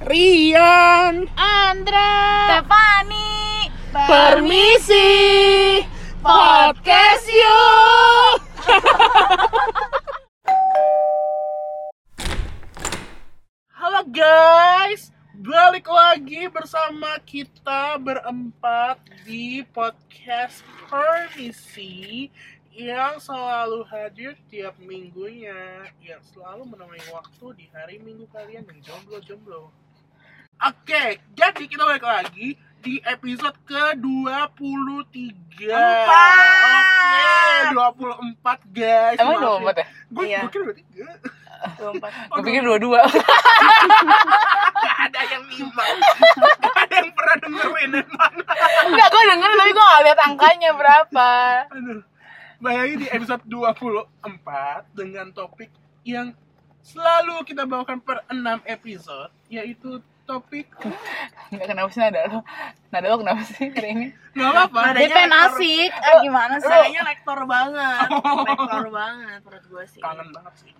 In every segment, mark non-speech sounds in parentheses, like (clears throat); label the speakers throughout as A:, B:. A: Rian
B: Andra Stefani
A: Permisi Podcast yuk Halo guys Balik lagi bersama kita berempat di podcast Permisi yang selalu hadir tiap minggunya, yang selalu menemani waktu di hari minggu kalian yang jomblo-jomblo. Oke, jadi kita balik lagi di episode ke-23
B: Empat.
A: Oke, 24 guys
C: Emang dua empat ya?
A: Gue
B: Iya.
A: kira 23
C: Gue pikir (laughs) dua-dua.
A: Gak (laughs) ada yang lima Gak ada yang pernah dengerin emang
C: Enggak, gue denger tapi gue gak lihat angkanya berapa.
A: Aduh. Bayangin di episode 24 dengan topik yang selalu kita bawakan per 6 episode yaitu topik
C: Enggak kenapa sih nada lo? Nada lo kenapa sih hari ini?
A: nggak apa-apa
B: Dia pengen asik eh, Gimana sih?
D: Kayaknya lektor banget,
A: Oh.
D: lektor banget menurut gue sih.
A: kangen banget sih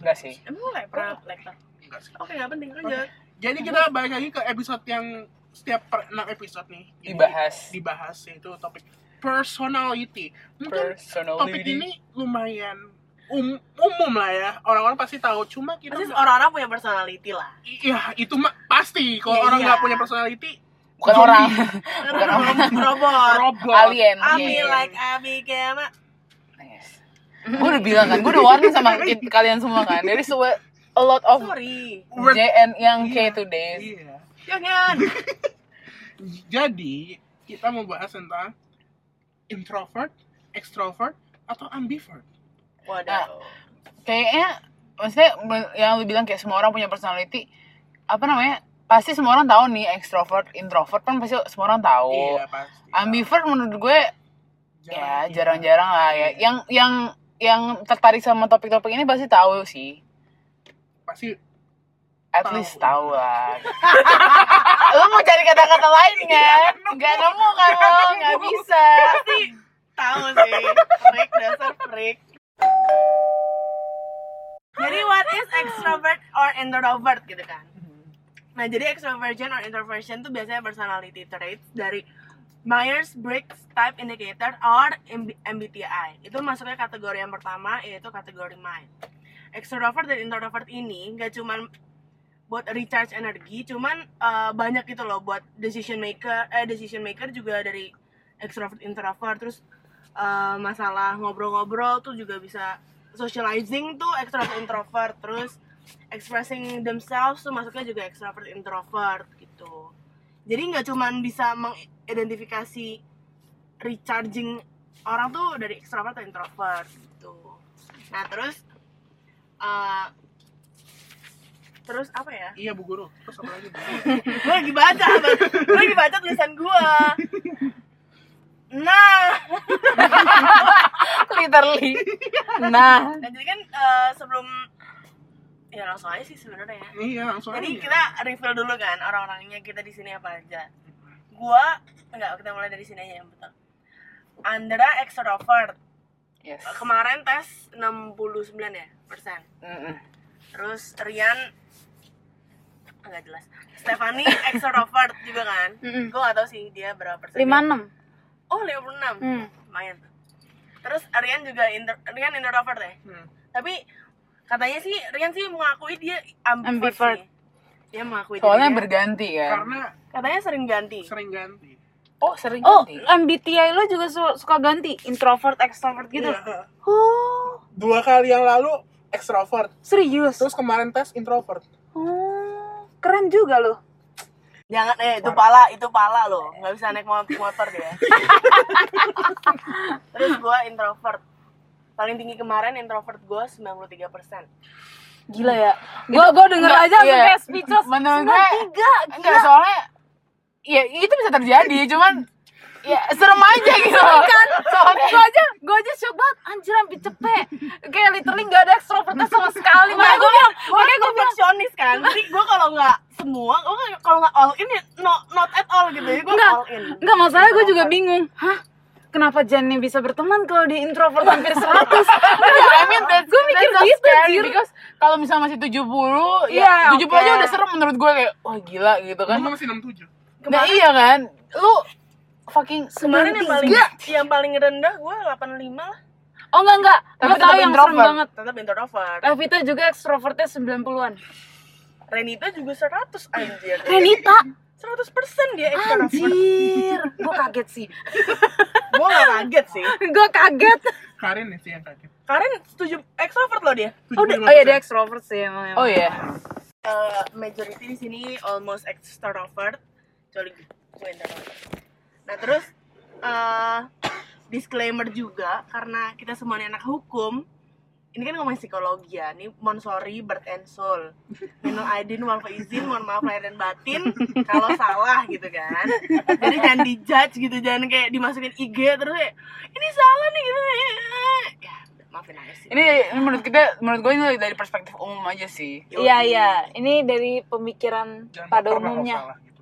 C: Enggak sih.
D: Emang lu lektor? lektor.
A: Enggak sih.
D: Oke, nggak penting aja.
A: jadi kita balik lagi ke episode yang setiap per 6 episode nih Jadi
C: Dibahas.
A: dibahas yaitu topik personality mungkin topik
C: Personality.
A: ini lumayan um, umum lah ya orang-orang pasti tahu cuma kita
D: Pasti
A: nggak-
D: orang-orang punya personality lah.
A: Iya, itu mah pasti. Kalau
D: Iya,
A: orang
D: iya.
A: nggak punya personality,
C: Bukan
A: zombie.
C: orang.
D: Karena robot.
C: (laughs)
D: robot.
A: robot.
C: Alien.
D: Ami
C: Alien.
D: like Ami Gema.
C: Nice. Gue udah bilang kan, gue udah warning sama kit- kalian semua kan. There is a, a lot
B: Oh.
C: of
D: Sorry.
A: We're-
C: J and yang K today.
A: Iya.
D: Jangan.
A: Jadi kita mau bahas tentang introvert, extrovert, atau ambivert.
D: Waduh.
C: Kayaknya, maksudnya men- yang lu bilang kayak semua orang punya personality, apa namanya? Pasti semua orang tahu nih extrovert, introvert kan pasti semua orang tahu.
A: Iya pasti.
C: Oh, Ambivert menurut gue ya
A: Jarang.
C: jarang-jarang lah ya yang yang yang tertarik sama topik-topik ini pasti tahu sih
A: Pasti
C: at
A: Tahu.
C: least tahu lah (laughs) lo mau cari kata-kata lain kan nggak nemu kan lo nggak bisa
D: Tahu sih. Freak dasar freak. Jadi what is extrovert or introvert gitu kan? Nah, jadi extroversion or introversion itu biasanya personality traits dari Myers-Briggs Type Indicator or MB- MBTI. Itu masuknya kategori yang pertama yaitu kategori mind. Extrovert dan introvert ini nggak cuman buat recharge energi, cuman eh, banyak gitu loh buat decision maker, eh decision maker juga dari extrovert introvert terus eh, masalah ngobrol-ngobrol tuh juga bisa socializing tuh extrovert introvert terus expressing themselves tuh masuknya juga extrovert introvert gitu jadi nggak cuman bisa mengidentifikasi recharging orang tuh dari extrovert atau introvert gitu nah terus eh, terus apa ya
A: iya bu guru. Terus apa lagi? Bu?
D: gue lagi baca gue lagi baca tulisan gue nah
C: (laughs) literally nah
D: Nah, jadi kan eh, sebelum ya langsung aja sih sebenarnya ya.
A: iya langsung
D: Jadi
A: aja.
D: kita refill dulu kan orang-orangnya kita di sini apa aja. Gua enggak kita mulai dari sini aja yang betul. Andra extrovert.
C: yes
D: Kemarin tes 69 ya persen.
C: Mm-mm.
D: Terus Rian enggak jelas.
B: (laughs)
D: Stefani extrovert juga kan.
B: Mm-mm.
D: Gue nggak tahu sih dia berapa persen.
B: lima enam
D: Oh 56.
B: Hmm.
D: Lumayan. Terus Rian juga inter- Rian introvert ya
A: Hmm.
D: tapi katanya sih Rian sih mengakui dia ambivert,
B: Ambivert.
D: sih. dia mengakui
C: soalnya
D: dirinya.
C: berganti kan
A: Karena
D: katanya sering ganti
A: sering ganti.
C: oh sering
B: oh
C: ganti
B: MBTI lo juga su- suka ganti introvert extrovert gitu
A: Iya.
B: oh
A: Dua kali yang lalu extrovert.
B: serius
A: Terus kemarin tes introvert.
B: oh keren juga lo
D: jangan eh itu pala itu pala loh nggak bisa naik mo- motor dia terus gue introvert paling tinggi kemarin introvert gue 93 persen
B: gila ya gua gua denger
C: Enggak,
B: aja langsung
C: iya.
B: kayak (laughs) speechless
C: Menurut gue-
B: semua tiga
C: enggak soalnya ya itu bisa terjadi cuman ya serem aja gitu loh.
B: kan?
C: soalnya
B: gue aja gue aja shock banget anjir ambil cepet kayak literally gak ada ekstrovertnya sama sekali makanya gue bilang
D: gue
B: makanya gue bilang
D: perfeksionis kan jadi gue kalau nggak semua gue kalau nggak all in ya no, not at all gitu jadi gue
B: enggak
D: all in
B: enggak masalah gue juga
D: Introvert.
B: bingung hah kenapa Jenny bisa berteman kalau di introvert (laughs) hampir 100 I mean that's, gue mikir
C: That's so
B: gitu
C: scary,
B: Jir
C: because kalau misalnya masih 70 ya
B: Iya,
C: 70 aja
B: oke.
C: udah serem menurut gue kayak wah gila gitu kan.
A: Kamu masih 67
C: Nah iya kan, lu fucking
D: Kemarin yang paling
C: Enggak.
D: yang paling rendah gue 85 lah.
B: oh enggak enggak
C: Tapi
B: gue
C: tetap
B: tau yang serem
C: introvert.
B: banget
D: Tetap introvert.
B: Evita juga ekstrovertnya 90-an
D: Renita juga 100 anjir.
B: Renita
D: 100% dia extrovert.
B: anjir gue kaget sih (laughs)
D: Gue gak kaget sih.
B: gue kaget
A: Karin nih sih yang kaget
D: Karen setuju extrovert loh dia.
B: oh, dia- oh iya dia ekstrovert sih emang
C: Oh iya.
D: Eh, majority di sini almost extrovert, kecuali gue introvert. Nah terus eh disclaimer juga karena kita semua ini anak hukum. Ini kan ngomongin psikologi ya, ini monsori birth and soul. Minul aidin wal izin, mohon maaf lahir dan batin kalau salah gitu kan. Jadi jangan dijudge gitu, jangan kayak dimasukin IG terus kayak ini salah nih gitu. Ya, maafin aja sih.
C: Ini, ini menurut kita menurut gue ini dari perspektif umum aja sih.
B: iya iya ini dari pemikiran
A: Jangan
B: pada
A: baper lah kalau
B: umumnya
A: salah gitu.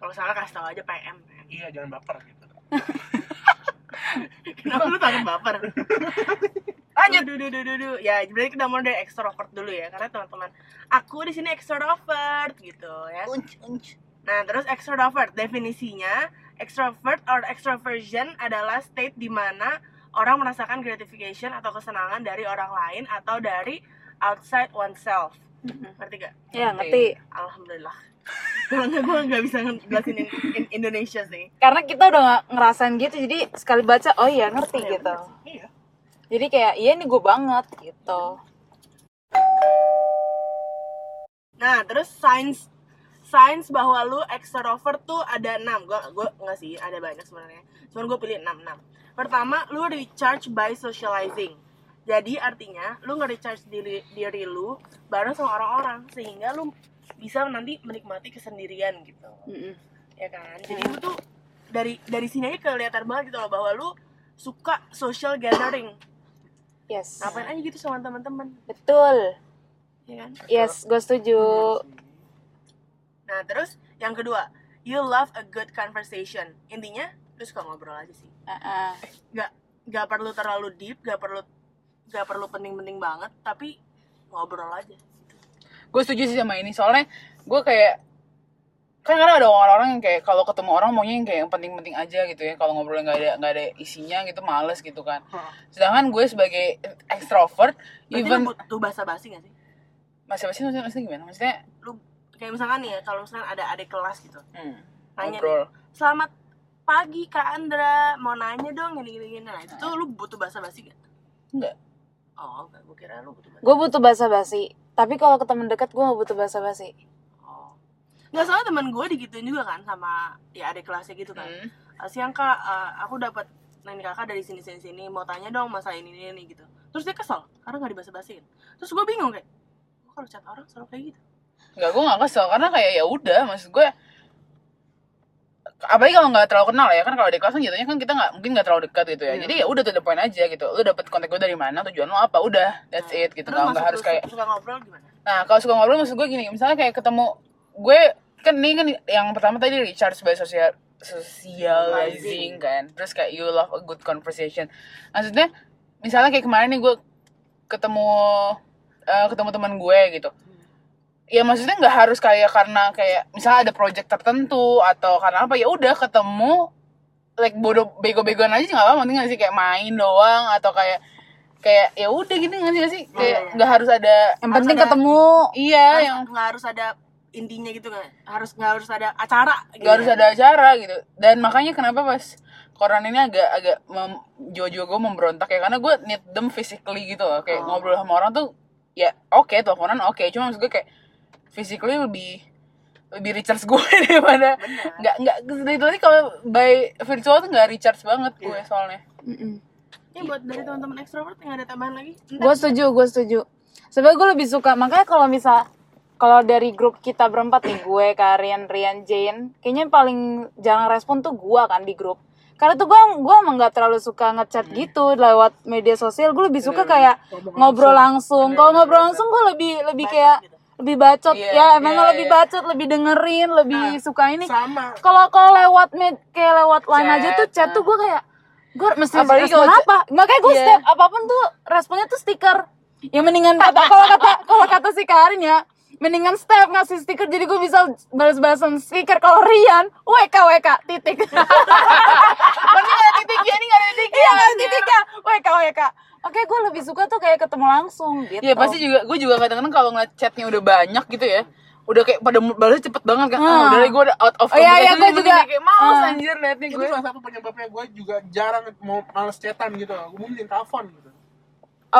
D: Kalau salah kasih tau aja PM.
A: Iya jangan baper gitu
D: Kenapa lu takut baper? Lanjut. Duh, duh, duh, duh, duh. Ya, jadi kita mulai dari extrovert dulu ya, karena teman-teman aku di sini extrovert gitu ya. Nah, terus extrovert definisinya extrovert or extroversion adalah state di mana orang merasakan gratification atau kesenangan dari orang lain atau dari outside oneself. Ngerti gak? Iya.
B: ya ngerti
D: Alhamdulillah. (laughs) Karena gue nggak bisa ngejelasin in, in Indonesia sih.
B: karena kita udah nggak ngerasain gitu jadi sekali baca oh iya ngerti gitu
A: Iya
B: jadi kayak iya nih gue banget gitu
D: Nah, terus signs signs bahwa lu extrovert tuh ada 6. Gua gua enggak sih, ada banyak sebenarnya. Cuman gue pilih 6 6. Pertama, lu recharge by socializing. Jadi artinya lu nge-recharge diri, diri lu bareng sama orang-orang sehingga lu bisa nanti menikmati kesendirian gitu. Ya kan? Jadi lu tuh dari dari sini aja kelihatan banget gitu loh bahwa lu suka social gathering.
B: yes
D: Ngapain aja gitu sama teman-teman,
B: betul
D: ya kan?
B: yes gue setuju
D: Nah, terus yang kedua, you love a good conversation. Intinya, lu suka ngobrol aja sih.
B: Heeh.
D: Gak, gak perlu terlalu deep, gak perlu gak perlu penting-penting banget, tapi ngobrol aja.
C: Gue setuju sih sama ini soalnya gue kayak kan kadang ada orang-orang yang kayak kalau ketemu orang maunya yang kayak yang penting-penting aja gitu ya kalau ngobrolnya nggak ada nggak ada isinya gitu males gitu kan sedangkan gue sebagai extrovert
D: Berarti
C: even
D: lu butuh bahasa basi gak sih?
C: masih masih maksudnya, maksudnya gimana maksudnya
D: Lu kayak misalkan nih ya, kalau misalkan ada adik kelas gitu.
C: hmm,
D: Nanya
C: ngobrol
D: Selamat pagi Kak Andra, mau nanya dong gini-gini. Nah, itu tuh lu butuh bahasa basi gak?
C: enggak
D: Oh, enggak. Gue kira lu butuh bahasa
B: gue butuh basa basi tapi kalau ke teman dekat gue gak butuh basa basi
D: Oh. Nggak soalnya teman gue digituin juga kan sama ya adik kelasnya gitu kan.
C: Hmm.
D: "Ah, siang kak eh, aku dapat lain kakak dari sini sini sini mau tanya dong masalah ini ini, ini gitu terus dia kesel karena nggak dibahas bahasin terus gue bingung kayak "Gua kalau chat orang selalu kayak gitu
C: Enggak, gue gak kesel karena kayak ya udah maksud gue apalagi kalau nggak terlalu kenal ya kan kalau di kelas kan jatuhnya kan kita nggak mungkin nggak terlalu dekat gitu ya
D: Iya.
C: jadi ya udah to the point aja gitu lu dapet kontak gue dari mana tujuan lu apa udah that's it
D: terus
C: gitu nggak nggak
D: masuk Nah.
C: harus
D: lu
C: kayak
D: suka ngobrol gimana
C: Nah, kalau suka ngobrol maksud gue gini, misalnya kayak ketemu gue kan ini kan yang pertama tadi Richard sebagai sosial socializing kan. Terus kayak you love a good conversation. Maksudnya misalnya kayak kemarin nih gue ketemu eh, ketemu teman gue gitu. Ya maksudnya nggak harus kayak karena kayak misalnya ada project tertentu atau karena apa ya udah ketemu like bodoh bego-begoan aja nggak apa-apa penting nggak sih kayak main doang atau kayak kayak ya udah gitu nggak sih nggak sih kayak nggak harus ada
B: yang
D: Harus
B: penting
D: ada-
B: ketemu
C: iya
D: Harus-
C: yang
D: nggak harus ada intinya gitu kan harus nggak harus ada acara gitu
C: nggak harus ada acara gitu dan makanya kenapa pas koran ini agak agak mem, jiwa-jiwa gue memberontak ya karena gue need them physically gitu loh kayak ngobrol sama orang tuh ya oke teleponan oke cuma maksud gue kayak physically lebih lebih recharge gue (laughs) daripada nggak nggak dari tadi kalau by virtual tuh nggak recharge banget gue soalnya
D: ini buat dari teman-teman ekstrovert yang ada tambahan lagi
B: gue setuju gue setuju sebenarnya gue lebih suka makanya kalau misal kalau dari grup kita berempat nih gue Karian Rian Jane kayaknya yang paling jarang respon tuh gue kan di grup karena tuh gue gue emang nggak terlalu suka ngechat
C: Hmm.
B: gitu lewat media sosial gue lebih suka kayak ngobrol langsung kalau ngobrol langsung gue lebih lebih kayak lebih bacot
C: gitu. Iya,
B: ya emang
C: iya,
B: lebih
C: iya. Nah,
B: bacot lebih dengerin lebih suka ini
A: Sama
B: kalau kalau lewat med kayak lewat line aja tuh chat tuh gue kayak gue mesti
C: Apalagi kalau-
B: respon apa Nah, makanya gue
C: Iya.
B: setiap apapun tuh responnya tuh stiker ya mendingan kata (laughs) kalau kata kalau kata si Karin ya mendingan step ngasih stiker jadi gue bisa balas-balasan stiker kalau Rian WK WK titik
C: (laughs) Ini nggak ada titik ya, ini nggak ada titik
B: iya (laughs) ngasih titiknya WK WK oke gue lebih suka tuh kayak ketemu langsung gitu
C: Iya pasti juga, gue juga kadang-kadang kalau ngeliat chatnya udah banyak gitu ya Udah kayak pada balas cepet banget kan
B: Hmm.
C: ah, Udah deh gue udah out of
B: Oh, iya, iya,
C: communication,
B: gue
C: jadi
B: juga.
C: Kayak males
B: Hmm.
C: anjir liatnya
A: itu
C: gue
A: salah satu penyebabnya gue juga jarang mau males chatan gitu loh gue mending telepon gitu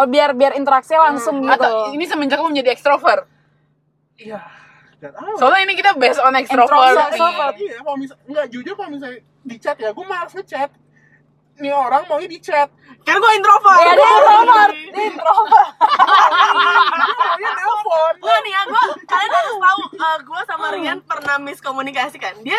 B: oh, biar biar interaksi langsung gitu
C: Hmm. Atau ini semenjak lo menjadi extrovert
A: iya gak tau
C: Soalnya ini kita based on extrovert
B: Introvert, extrovert.
A: iya kalau misal nggak jujur kalau misalnya di chat ya gue malas ngechat ini orang maunya di chat
D: Karena gue introvert.
C: Iya,
B: ya dia
D: (laughs)
B: introvert dia introvert
A: maunya telepon
D: Enggak nih ya, gue kalian harus tahu eh, gue sama Rian pernah miskomunikasi kan. Dia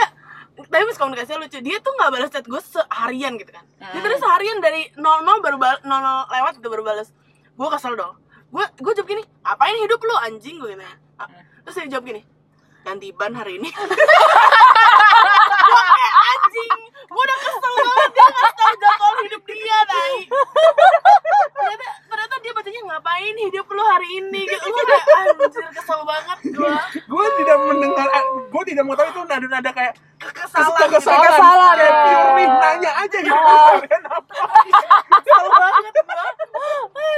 D: tapi miskomunikasinya lucu. Dia tuh nggak balas chat gue seharian gitu kan. Dia tadi seharian dari 00 baru bal- 00 lewat gitu baru balas. Gue kesel dong. Gue gue jawab gini, "Apain hidup lu anjing?" gue gitu. Ah, Terus dia jawab gini, "Ganti ban hari ini." (laughs) Gua kayak, anjing gue udah kesel banget dia nggak tahu jadwal hidup dia tai ternyata ternyata dia bacanya ngapain hidup lu hari ini gitu gue udah anjir kesel banget gue
A: gue tidak mendengar gue tidak mau tahu itu nada-nada kayak
D: kekesalan
A: kesalah
D: gitu.
A: kesalah
B: Kekesalan,
A: kayak
B: ya.
A: purely nanya aja gitu (laughs) kalian apa
D: kesel banget gue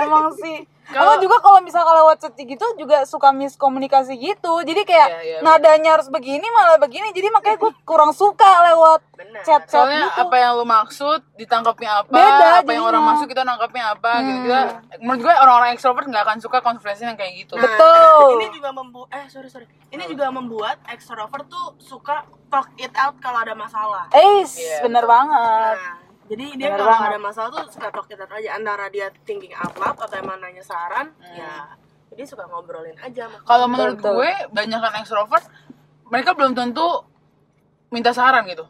B: emang sih
C: Kalau-
B: Emang juga kalau misal kalau WhatsApp gitu juga suka miskomunikasi gitu jadi kayak
C: Iya, iya.
B: nadanya harus begini malah begini jadi makanya gue kurang suka lewat
D: Benar.
B: chat chat
C: Soalnya
B: gitu
C: apa yang lo maksud, ditangkapnya apa,
B: Beda
C: apa yang orang
B: jadinya. Hmm.
C: maksud kita nangkapnya apa gitu kita, Menurut gue orang-orang extrovert nggak akan suka konversi yang kayak gitu
D: Nah,
B: betul
D: ini juga membuat eh sorry sorry ini juga membuat extrovert tuh suka talk it out kalau ada masalah
B: eh
C: Iya,
B: bener banget
D: Nah, jadi dia
B: Bener
D: kalau
B: banget.
D: ada masalah tuh suka talk it out aja antara dia thinking out loud atau emang nanya saran
B: Hmm.
D: ya jadi suka ngobrolin aja sama
C: Kalau menurut
B: Betul.
C: gue, banyakan extrovert, mereka belum tentu minta saran gitu.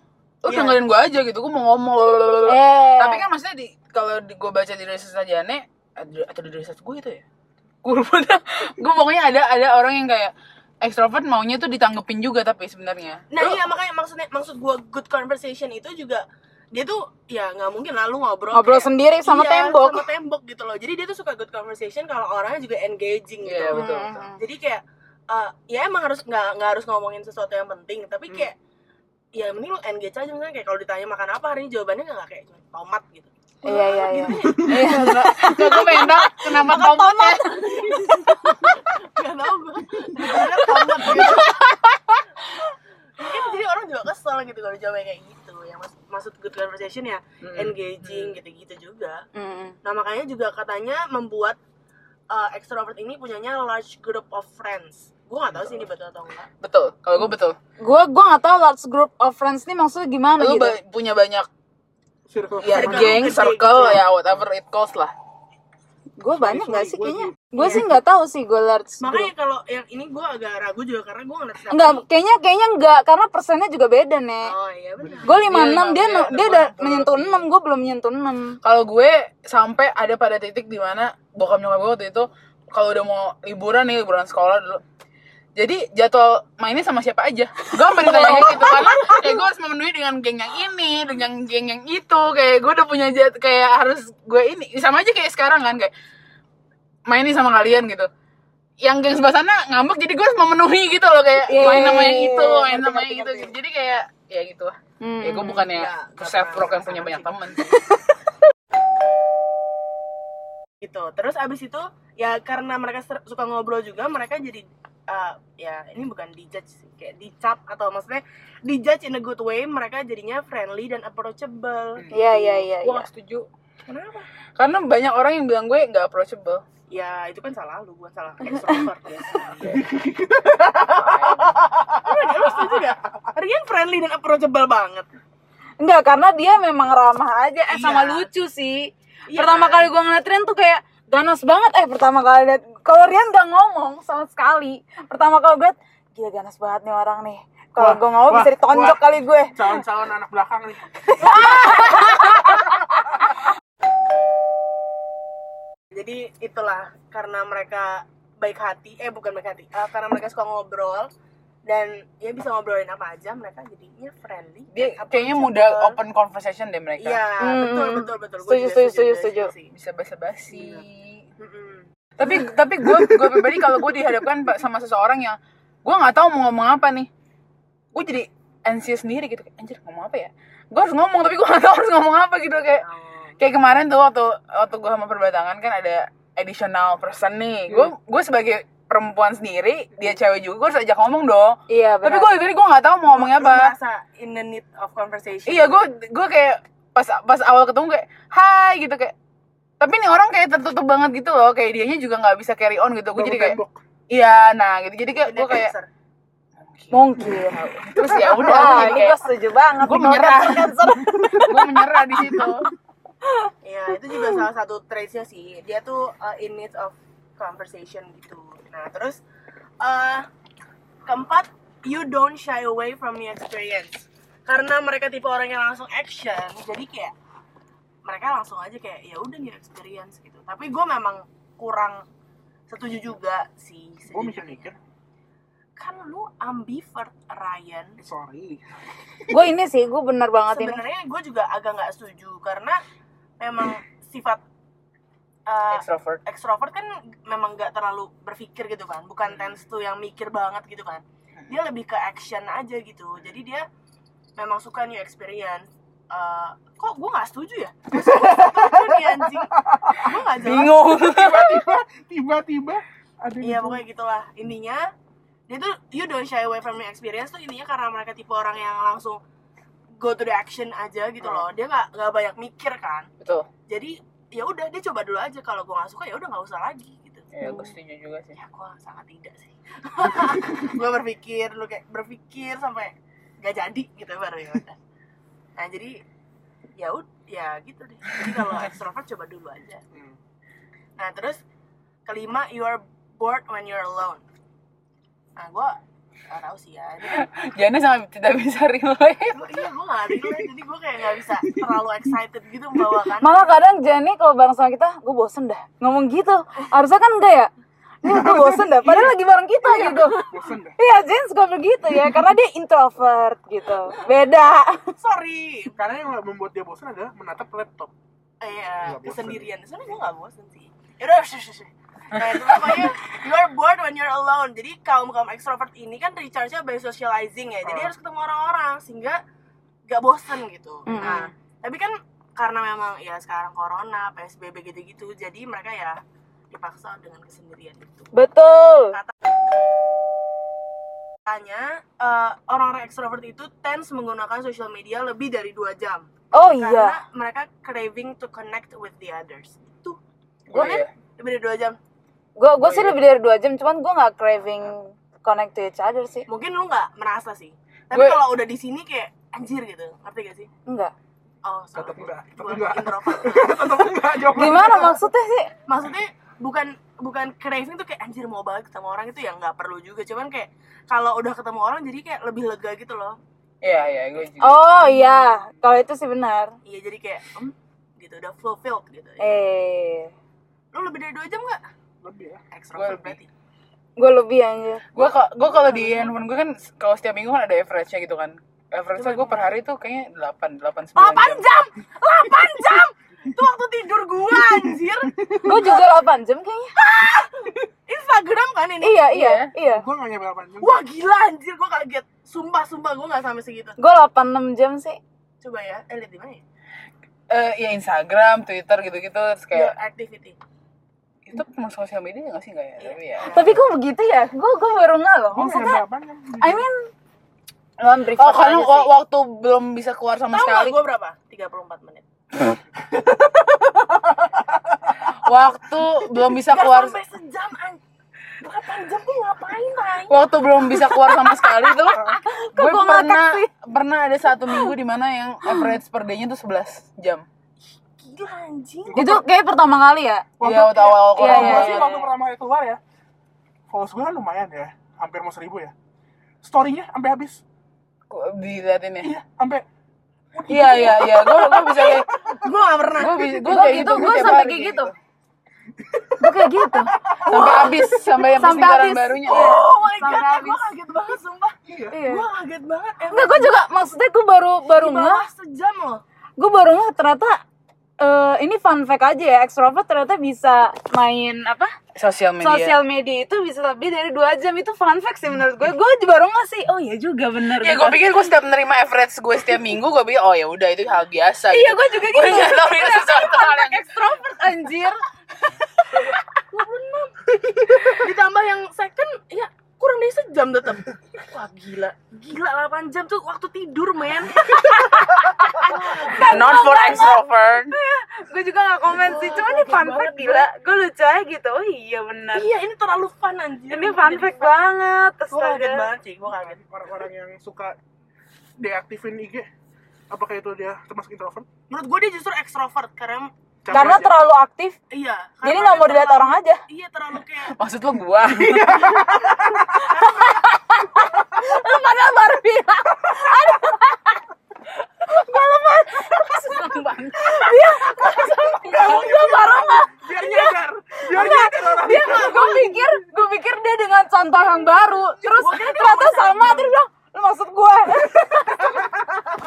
C: Lu
D: Iya.
C: dengerin gue aja gitu, gue mau ngomong. lalalala.
B: Eh.
C: Tapi kan maksudnya di kalau di, gue baca di research Sajane ada- atau di research gue itu ya. Gue lupa (laughs) dah. Gue pokoknya ada ada orang yang kayak extrovert maunya tuh ditanggepin juga tapi sebenarnya.
D: Nah iya makanya maksudnya maksud gue good conversation itu juga dia tuh ya nggak mungkin lalu ngobrol
B: Ngobrol
D: kayak-
B: sendiri Eh, sama
C: iya,
B: tembok.
D: sama tembok gitu loh jadi dia tuh suka good conversation kalau orangnya juga engaging gitu
C: Iya, betul,
B: Hmm.
C: betul.
D: jadi kayak eh, ya emang harus nggak nggak harus ngomongin sesuatu yang penting
C: Hmm.
D: tapi kayak ya mending lu engage aja misalnya kayak kalau ditanya makan apa hari ini jawabannya nggak kayak cuma tomat gitu (laughs)
B: iya iya iya (laughs)
C: Nah, gue pengen tahu kenapa tomat ya.
D: nggak tahu gue ditanya tomat gitu mungkin jadi orang juga kesel gitu kalau jawabnya kayak gitu ya mas- maksud good conversation ya
C: Hmm.
D: engaging gitu-gitu juga
B: Mm.
D: Nah makanya juga katanya membuat uh, extrovert ini punyanya large group of friends. Gue gak tahu sih ini betul atau enggak.
C: Betul. Kalau gue betul.
B: gue gue nggak tahu large group of friends nih maksudnya gimana
C: Lu
B: gitu Iya,
C: ba- punya banyak
A: circle
C: ya
D: Circle
C: geng,
D: gede
C: circle
D: gitu.
C: ya whatever it calls lah.
B: gue banyak
A: Sorry,
B: gak
A: sorry,
B: sih
A: gua
B: kayaknya
A: sih.
B: gue
C: iya.
B: sih nggak tahu sih gue large
D: Makanya
B: group
D: kalau yang ini gue agak ragu juga karena gue ngeliat siapa.
B: Enggak, kayaknya kayaknya enggak karena persennya juga beda nek
D: Oh iya benar.
B: Gue 56, dia
C: Iya,
B: nu-
C: iya,
B: dia udah
C: betul.
B: menyentuh 6, gue belum menyentuh 6
C: kalau gue sampai ada pada titik di mana bokap nyokap gue waktu itu kalau udah mau liburan nih liburan sekolah dulu jadi jadwal mainnya sama siapa aja gue sampai ditanya kayak gitu karena kayak gue harus memenuhi dengan geng yang ini dengan geng yang itu kayak gue udah punya jad kayak harus gue ini sama aja kayak sekarang kan kayak main nih sama kalian gitu yang geng sebelah sana ngambek jadi gue harus memenuhi gitu loh kayak
B: Iya,
C: main sama yang
B: iya,
C: itu
B: iya,
C: main
B: ngerti,
C: sama
B: ngerti,
C: yang itu
B: ngerti.
C: gitu. jadi kayak ya gitu lah
B: Hmm.
C: ya gue bukannya
D: Nggak, nggak
C: self
D: pernah
C: rock yang punya banyak
D: ngerasain
C: temen
B: Iya,
D: Gitu. Terus abis itu ya karena mereka ser- suka ngobrol juga mereka jadi uh, ya ini bukan dijudge sih kayak dicap atau maksudnya dijudge in a good way mereka jadinya friendly dan approachable.
B: Iya, iya, iya
C: gue
B: iya.
C: gak setuju
D: Kenapa?
C: karena banyak orang yang bilang gue nggak approachable
D: Ya itu kan salah lu, bukan
B: (laughs)
D: salah extrovert
C: (laughs)
D: ya. Lu setuju gak? Rian friendly dan approachable banget.
B: Enggak, karena dia memang ramah aja Eh, sama
D: Iya.
B: lucu sih
D: Iya
B: Pertama
D: kan?
B: kali gue ngeliat Rian tuh kayak ganas banget Eh, pertama kali liat Kalau Rian gak ngomong sama sekali Pertama kali gue liat, Gila ganas banget nih orang nih Kalau
A: Wah,
B: gue ngomong
A: wah,
B: bisa ditonjok
A: wah.
B: kali gue
A: calon-calon anak belakang nih
D: Jadi itulah karena mereka baik hati, eh bukan baik hati, eh, karena mereka suka ngobrol dan ya bisa ngobrolin apa aja mereka jadinya friendly
C: Dia
D: dan
C: kayaknya
D: approachable.
C: mudah open kan? conversation deh mereka.
D: iya
B: Hmm,
D: betul
B: hmm.
D: betul betul Gua
B: Setuju,
D: juga
B: setuju, setuju,
D: juga
B: setuju.
D: sih.
C: Bisa basa-basi.
D: Iya. Mm-mm.
C: tapi tapi gue gue pribadi kalau gue dihadapkan pa- sama seseorang yang gue nggak tahu mau ngomong apa nih gue jadi anxious sendiri gitu Kayak, anjir ngomong apa ya gue harus ngomong tapi gue nggak tahu harus ngomong apa gitu kayak
D: Oh.
C: kayak kemarin tuh waktu waktu gue sama perbatangan kan ada additional person
D: Hmm.
C: nih gue gue sebagai perempuan sendiri dia cewek juga gue harus ajak ngomong dong
B: Iya,
C: tapi
B: benar.
C: gue jadi gue nggak tahu mau ngomong
D: Lu
C: apa
D: merasa in the need of conversation
C: Iya, gue gue kayak pas pas awal ketemu kayak hai gitu kayak tapi nih orang kayak tertutup banget gitu loh kayak dianya juga nggak bisa carry on gitu gue jadi kayak
A: tembok.
C: iya nah gitu jadi kayak gue kayak
B: Mungkin.
C: terus ya udah gue
B: Wah,
C: jadi
B: ini
C: kayak
B: gue setuju banget.
C: Gua
B: nih,
C: menyerah.
B: kalau (laughs) cancer.
C: gue menyerah di situ
D: Iya, itu juga salah satu traitsnya sih. Dia tuh uh, in need of conversation gitu. Nah, terus eh keempat, you don't shy away from new experience. Karena mereka tipe orang yang langsung action, jadi kayak mereka langsung aja kayak ya udah new experience gitu. Tapi gue memang kurang setuju juga sih.
A: Gue
D: sejujurnya.
A: mikir-mikir.
D: Kan lu ambivert Ryan.
A: Sorry.
B: gue ini sih, gue bener banget ini.
D: Sebenarnya gue juga agak nggak setuju karena memang sifat eh,
C: (laughs) extrovert
D: ekstrovert kan memang nggak terlalu berpikir gitu kan bukan tense tuh yang mikir banget gitu kan dia lebih ke action aja gitu jadi dia memang suka new experience Eh, kok gue nggak setuju ya Gua setuju nih anjing gue nggak jelas
C: bingung
A: Tiba-tiba, tiba-tiba ada yang
D: Iya
A: bilang,
D: pokoknya gitulah intinya dia tuh you don't shy away from your experience tuh intinya karena mereka tipe orang yang langsung go to the action aja gitu loh dia nggak nggak banyak mikir kan
C: betul
D: jadi ya udah dia coba dulu aja kalau gue nggak suka ya udah nggak usah lagi gitu
C: ya gue setuju juga sih
D: ya gue sangat tidak sih gue berpikir lu kayak berpikir sampai gak jadi gitu baru ya udah nah jadi ya ud- ya gitu deh jadi kalau extrovert coba dulu aja
A: "Hmm,
D: nah terus kelima you are bored when you're alone nah gue gak tau sih ya ini kan
C: Jana sangat tidak bisa relate
D: gua, iya gue gak relate jadi gue kayak gak bisa terlalu excited gitu membawakan
B: Malah kadang Jenny kalau bareng sama kita, gue bosen dah. Ngomong gitu. Harusnya kan enggak ya? Ini gue bosen dah. Padahal lagi bareng kita gitu.
A: Bosen dah.
B: Iya, Jen suka begitu ya. Karena dia introvert gitu. Beda. (laughs)
D: sorry
A: Karena yang membuat dia bosan adalah menatap laptop. (laughs)
D: Iya,
A: Nggak bosen. ya?
D: kesendirian. Sebenernya gue gak bosen sih. Ya Yaudah, shush, shush, shush. Nah, itu pokoknya you are bored when you're alone. Jadi kaum-kaum extrovert ini kan recharge-nya by socializing ya. Jadi
A: Ah.
D: harus ketemu orang-orang sehingga gak bosen gitu.
B: Mm-mm.
D: Nah, tapi kan karena memang ya sekarang corona, PSBB gitu-gitu, jadi mereka ya dipaksa dengan kesendirian itu.
B: Betul.
D: Katanya eh, orang-orang extrovert itu tends menggunakan social media lebih dari dua jam
B: Oh
D: karena
B: iya.
D: mereka craving to connect with the others. Itu
C: Gua
D: kan
C: ya.
D: lebih dari dua jam
B: Gue gue sih lebih dari 2 jam, cuman gue nggak craving connect to each other sih.
D: mungkin lu nggak merasa sih tapi
C: Gue-
D: kalau udah di sini kayak anjir gitu ngerti gak sih
B: Enggak.
D: oh sorry
A: Tetep enggak, tetep
D: Gua
A: enggak. (laughs)
D: introvert.
A: Tetap enggak jawaban.
B: Gimana maksudnya sih?
D: maksudnya bukan bukan craving tuh kayak anjir mau banget ketemu orang itu ya nggak perlu juga cuman kayak kalau udah ketemu orang jadi kayak lebih lega gitu loh
C: Iya, iya, gue juga.
B: Oh iya, kalau itu sih benar.
D: iya jadi kayak hmm, gitu udah fulfilled gitu
B: Eh,
D: lu lebih dari dua jam nggak
A: Lebih ya.
D: extrovert
C: lebih.
D: berarti
B: gue lebih anjir.
C: Gue kok gue kalau di handphone gue kan kalau setiap minggu kan ada average-nya gitu kan. Average-nya gue per hari tuh kayaknya 8 8 9
D: delapan
C: jam.
D: jam delapan
B: (laughs)
D: jam itu waktu tidur gua
A: (laughs)
D: anjir
B: Gue juga 8 jam kayaknya.
D: Instagram kan ini
B: Iya, iya, iya.
A: Gue gak nyampe 8 jam.
D: wah gila anjir gua kaget sumpah sumpah gua nggak sampai segitu
B: Gue 8 6 jam sih.
D: coba ya eh lihat di mana ya
C: Eh, ya Instagram, Twitter gitu-gitu terus
D: Your
C: kayak
D: activity
C: itu cuma sosial media nggak sih nggak ya tapi ya
B: Tapi kok begitu ya? Gue gue baru nggak loh.
A: Gue gak
B: Maksudnya,
A: nyampe 8 jam.
B: I mean, Iya, lawan brief
C: oh karena wa-
B: aja sih.
C: waktu belum bisa keluar
D: Tahu
C: sama
D: nggak
C: sekali
D: gue berapa? 34 menit.
C: waktu belum bisa
D: Gak
C: keluar
D: sampai sejam an. Delapan jam tuh ngapain Rai?
C: waktu belum bisa keluar sama sekali tuh gue
B: gua ngakak
C: pernah
B: sih?
C: pernah ada satu minggu di mana yang average per day-nya tuh 11 jam
D: Gila anjing.
B: Itu kayak pertama kali ya.
A: Waktu-
C: Iya, waktu awal
B: Iya,
A: Kalau
C: corona.
A: gue
B: iya,
A: sih
B: iya.
A: waktu pertama kali keluar ya. Followers gue kan lumayan ya. Hampir mau 1000 ya. Story-nya sampai habis.
C: Gua diliatin ya
A: Iya, sampai
C: iya iya iya gue gue bisa kayak
D: Gue gak pernah.
C: gue bisa gue
B: Gue
C: kayak
B: gitu,
C: gitu
B: gue
C: tiap
B: sampai
C: hari
B: kayak gitu. gue kayak gitu
C: sampai habis sampai yang
B: Sampai
C: persekitaran
B: habis. Iya.
C: barunya
D: Oh my god,
B: Sampai
D: gue
B: habis.
D: kaget banget sumpah.
A: Iya.
B: Iya.
D: Gue kaget banget.
B: Enggak, gue juga maksudnya gue baru baru ngeh,
D: Bawah sejam loh.
B: gue baru ngeh ternyata eh, ini fun fact aja ya, extrovert ternyata bisa main apa?
C: sosial media
B: Sosial media itu bisa lebih dari dua jam itu fun fact sih menurut gue. Gue juga baru nggak sih. Oh iya juga bener.
C: Ya
B: gitu.
C: gue pikir gue setiap menerima average gue setiap minggu gue pikir oh ya udah itu hal biasa.
B: Iya gue juga gitu.
C: Gue nggak tahu itu sesuatu hal yang
B: Extrovert anjir.
D: Ditambah yang second, ya kurang dari sejam tetap. Wah gila, gila 8 jam tuh waktu tidur men.
C: not for extrovert.
B: Gue juga nggak komen sih. Cuman ini fun fact gila. Gue lucu aja gitu. Oh iya bener.
D: iya ini terlalu fun anjir.
B: Ini fun fact banget.
D: Gue kaget
B: Astaga.
D: banget sih, gue kaget.
A: Orang-orang yang suka deaktifin IG, apakah itu dia termasuk introvert?
D: Menurut gue dia justru ekstrovert karena
A: Capek
B: Karena
A: aja. (laughs)
B: terlalu aktif.
D: iya. Karena
B: Jadi nggak mau
D: dia
B: dilihat
D: terlalu-
B: orang aja.
D: Iya terlalu kayak
C: Maksud lo gue?
B: Padahal baru bilang.
A: Enggak, baru mah.
D: Iya.
A: Biar nyadar. Biar nyadar orang.
B: dia gue pikir gue pikir dia dengan contoh yang baru terus ternyata sama terus dia bilang lu maksud gue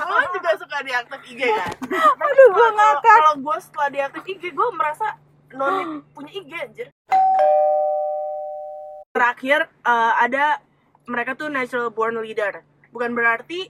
D: Lo juga suka diaktif IG kan?
B: aduh gue
D: Kalau-
B: ngakak
D: Kalau gue setelah diaktif IG, gue merasa non punya IG anjir. Terakhir eh, ada mereka tuh natural born leader. Bukan berarti